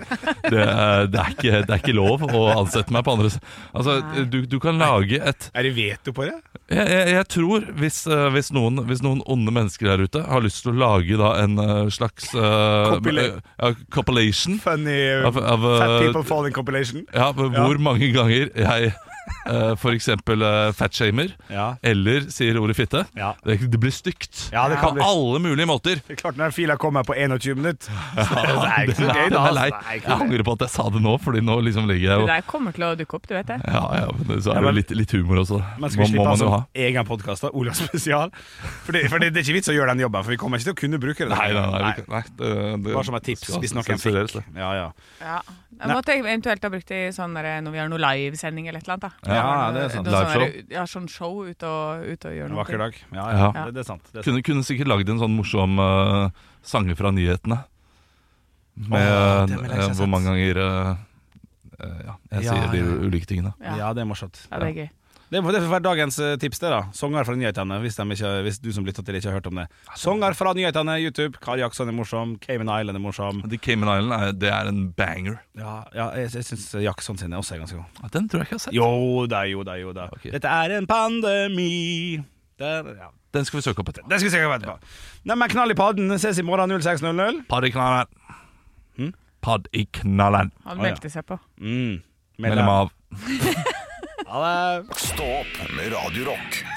S3: det, er, det, er, ikke, det er ikke lov å ansette meg på andre s- Altså, du, du kan lage et
S2: Er det veto på det?
S3: jeg, jeg, jeg tror, hvis, eh, hvis, noen, hvis noen onde mennesker der ute har lyst til å lage da, en eh, slags eh,
S2: Compila-
S3: ja, compilation
S2: Funny uh,
S3: av, av eh,
S2: Fat People Falling Compilation?
S3: ja, hvor mange ganger jeg eh, for eksempel uh, fatshamer
S2: Ja.
S3: eller sier ordet fitte,
S2: Ja.
S3: det, det blir stygt.
S2: Ja, det kan
S3: på
S2: bli.
S3: alle mulige måter.
S2: Det er klart når den fila kommer på 21
S3: [LAUGHS]
S2: minutter. Det er ikke så gøy,
S3: Det
S2: da.
S3: er
S2: altså.
S3: leit.
S2: Det er ikke
S3: Jeg angrer på at jeg sa det nå, Fordi nå liksom ligger jeg
S4: Det
S3: og
S4: der kommer til å dukke opp, du vet det.
S3: ja, ja, men Så
S2: Ja,
S3: er det
S2: men-
S3: litt, litt humor også.
S2: Men skal vi
S3: Må-
S2: slippe
S3: må man
S2: altså,
S3: jo ha.
S2: egen podkast, Olav spesial? For det, for det, det er ikke vits å gjøre den jobben, for vi kommer ikke til å kunne bruke det.
S3: Nei, nei, nei, vi kan- nei det, det,
S2: Bare som et tips,
S3: skal
S2: hvis noen
S3: sensureres,
S2: fikk.
S3: det.
S2: Ja, ja.
S4: Ja. Jeg måtte jeg eventuelt ha brukt det i sånn der, når vi har noe livesending eller et eller annet. Da.
S2: Ja, det er sant.
S4: Noe
S3: Liveshow.
S4: sånn der- Ja, sånn show ut og, ut og gjøre
S2: En
S4: noe.
S2: vakker dag. Ja, ja.
S3: Ja.
S2: Det, det er sant. Det er sant.
S3: [LAUGHS] Kunne, kunne sikkert lagd en sånn morsom uh, sanger fra nyhetene. Med
S2: Åh, det vil jeg ikke
S3: eh,
S2: ha sett.
S3: hvor mange ganger eh, eh, ja, jeg
S2: Ja,
S3: sier de
S2: ja.
S3: ulike tingene.
S4: Ja.
S2: Ja, det er morsomt.
S4: Ja, det er gøy.
S2: Det får det får være dagens eh, tips, det da. Sanger fra nyhetene, hvis, de ikke, hvis du som lytter til ikke har hørt om det. Sanger fra nyhetene, YouTube. Kari Jackson er morsom. Cayman Island er morsom.
S3: The Cayman Island er, det er en banger.
S2: Ja, ja jeg, jeg syns Jackson sine også er ganske gode.
S3: Den tror jeg ikke jeg har sett.
S2: Jo da, jo da, jo da.
S3: Ok.
S2: Dette er en pandemi. Der, ja.
S3: Den skal vi søke opp etter.
S2: Det skal vi sikkert vite på. Neimen, knall i padden. Ses i morgen 06.00.
S3: Pad i knallen.
S2: Hm?
S3: Pad i knallen.
S2: Å,
S4: Han
S2: ja.
S4: meldte seg på.
S2: Mm.
S3: Mellom av.
S2: Ha det.
S1: Stå opp med Radio Rock.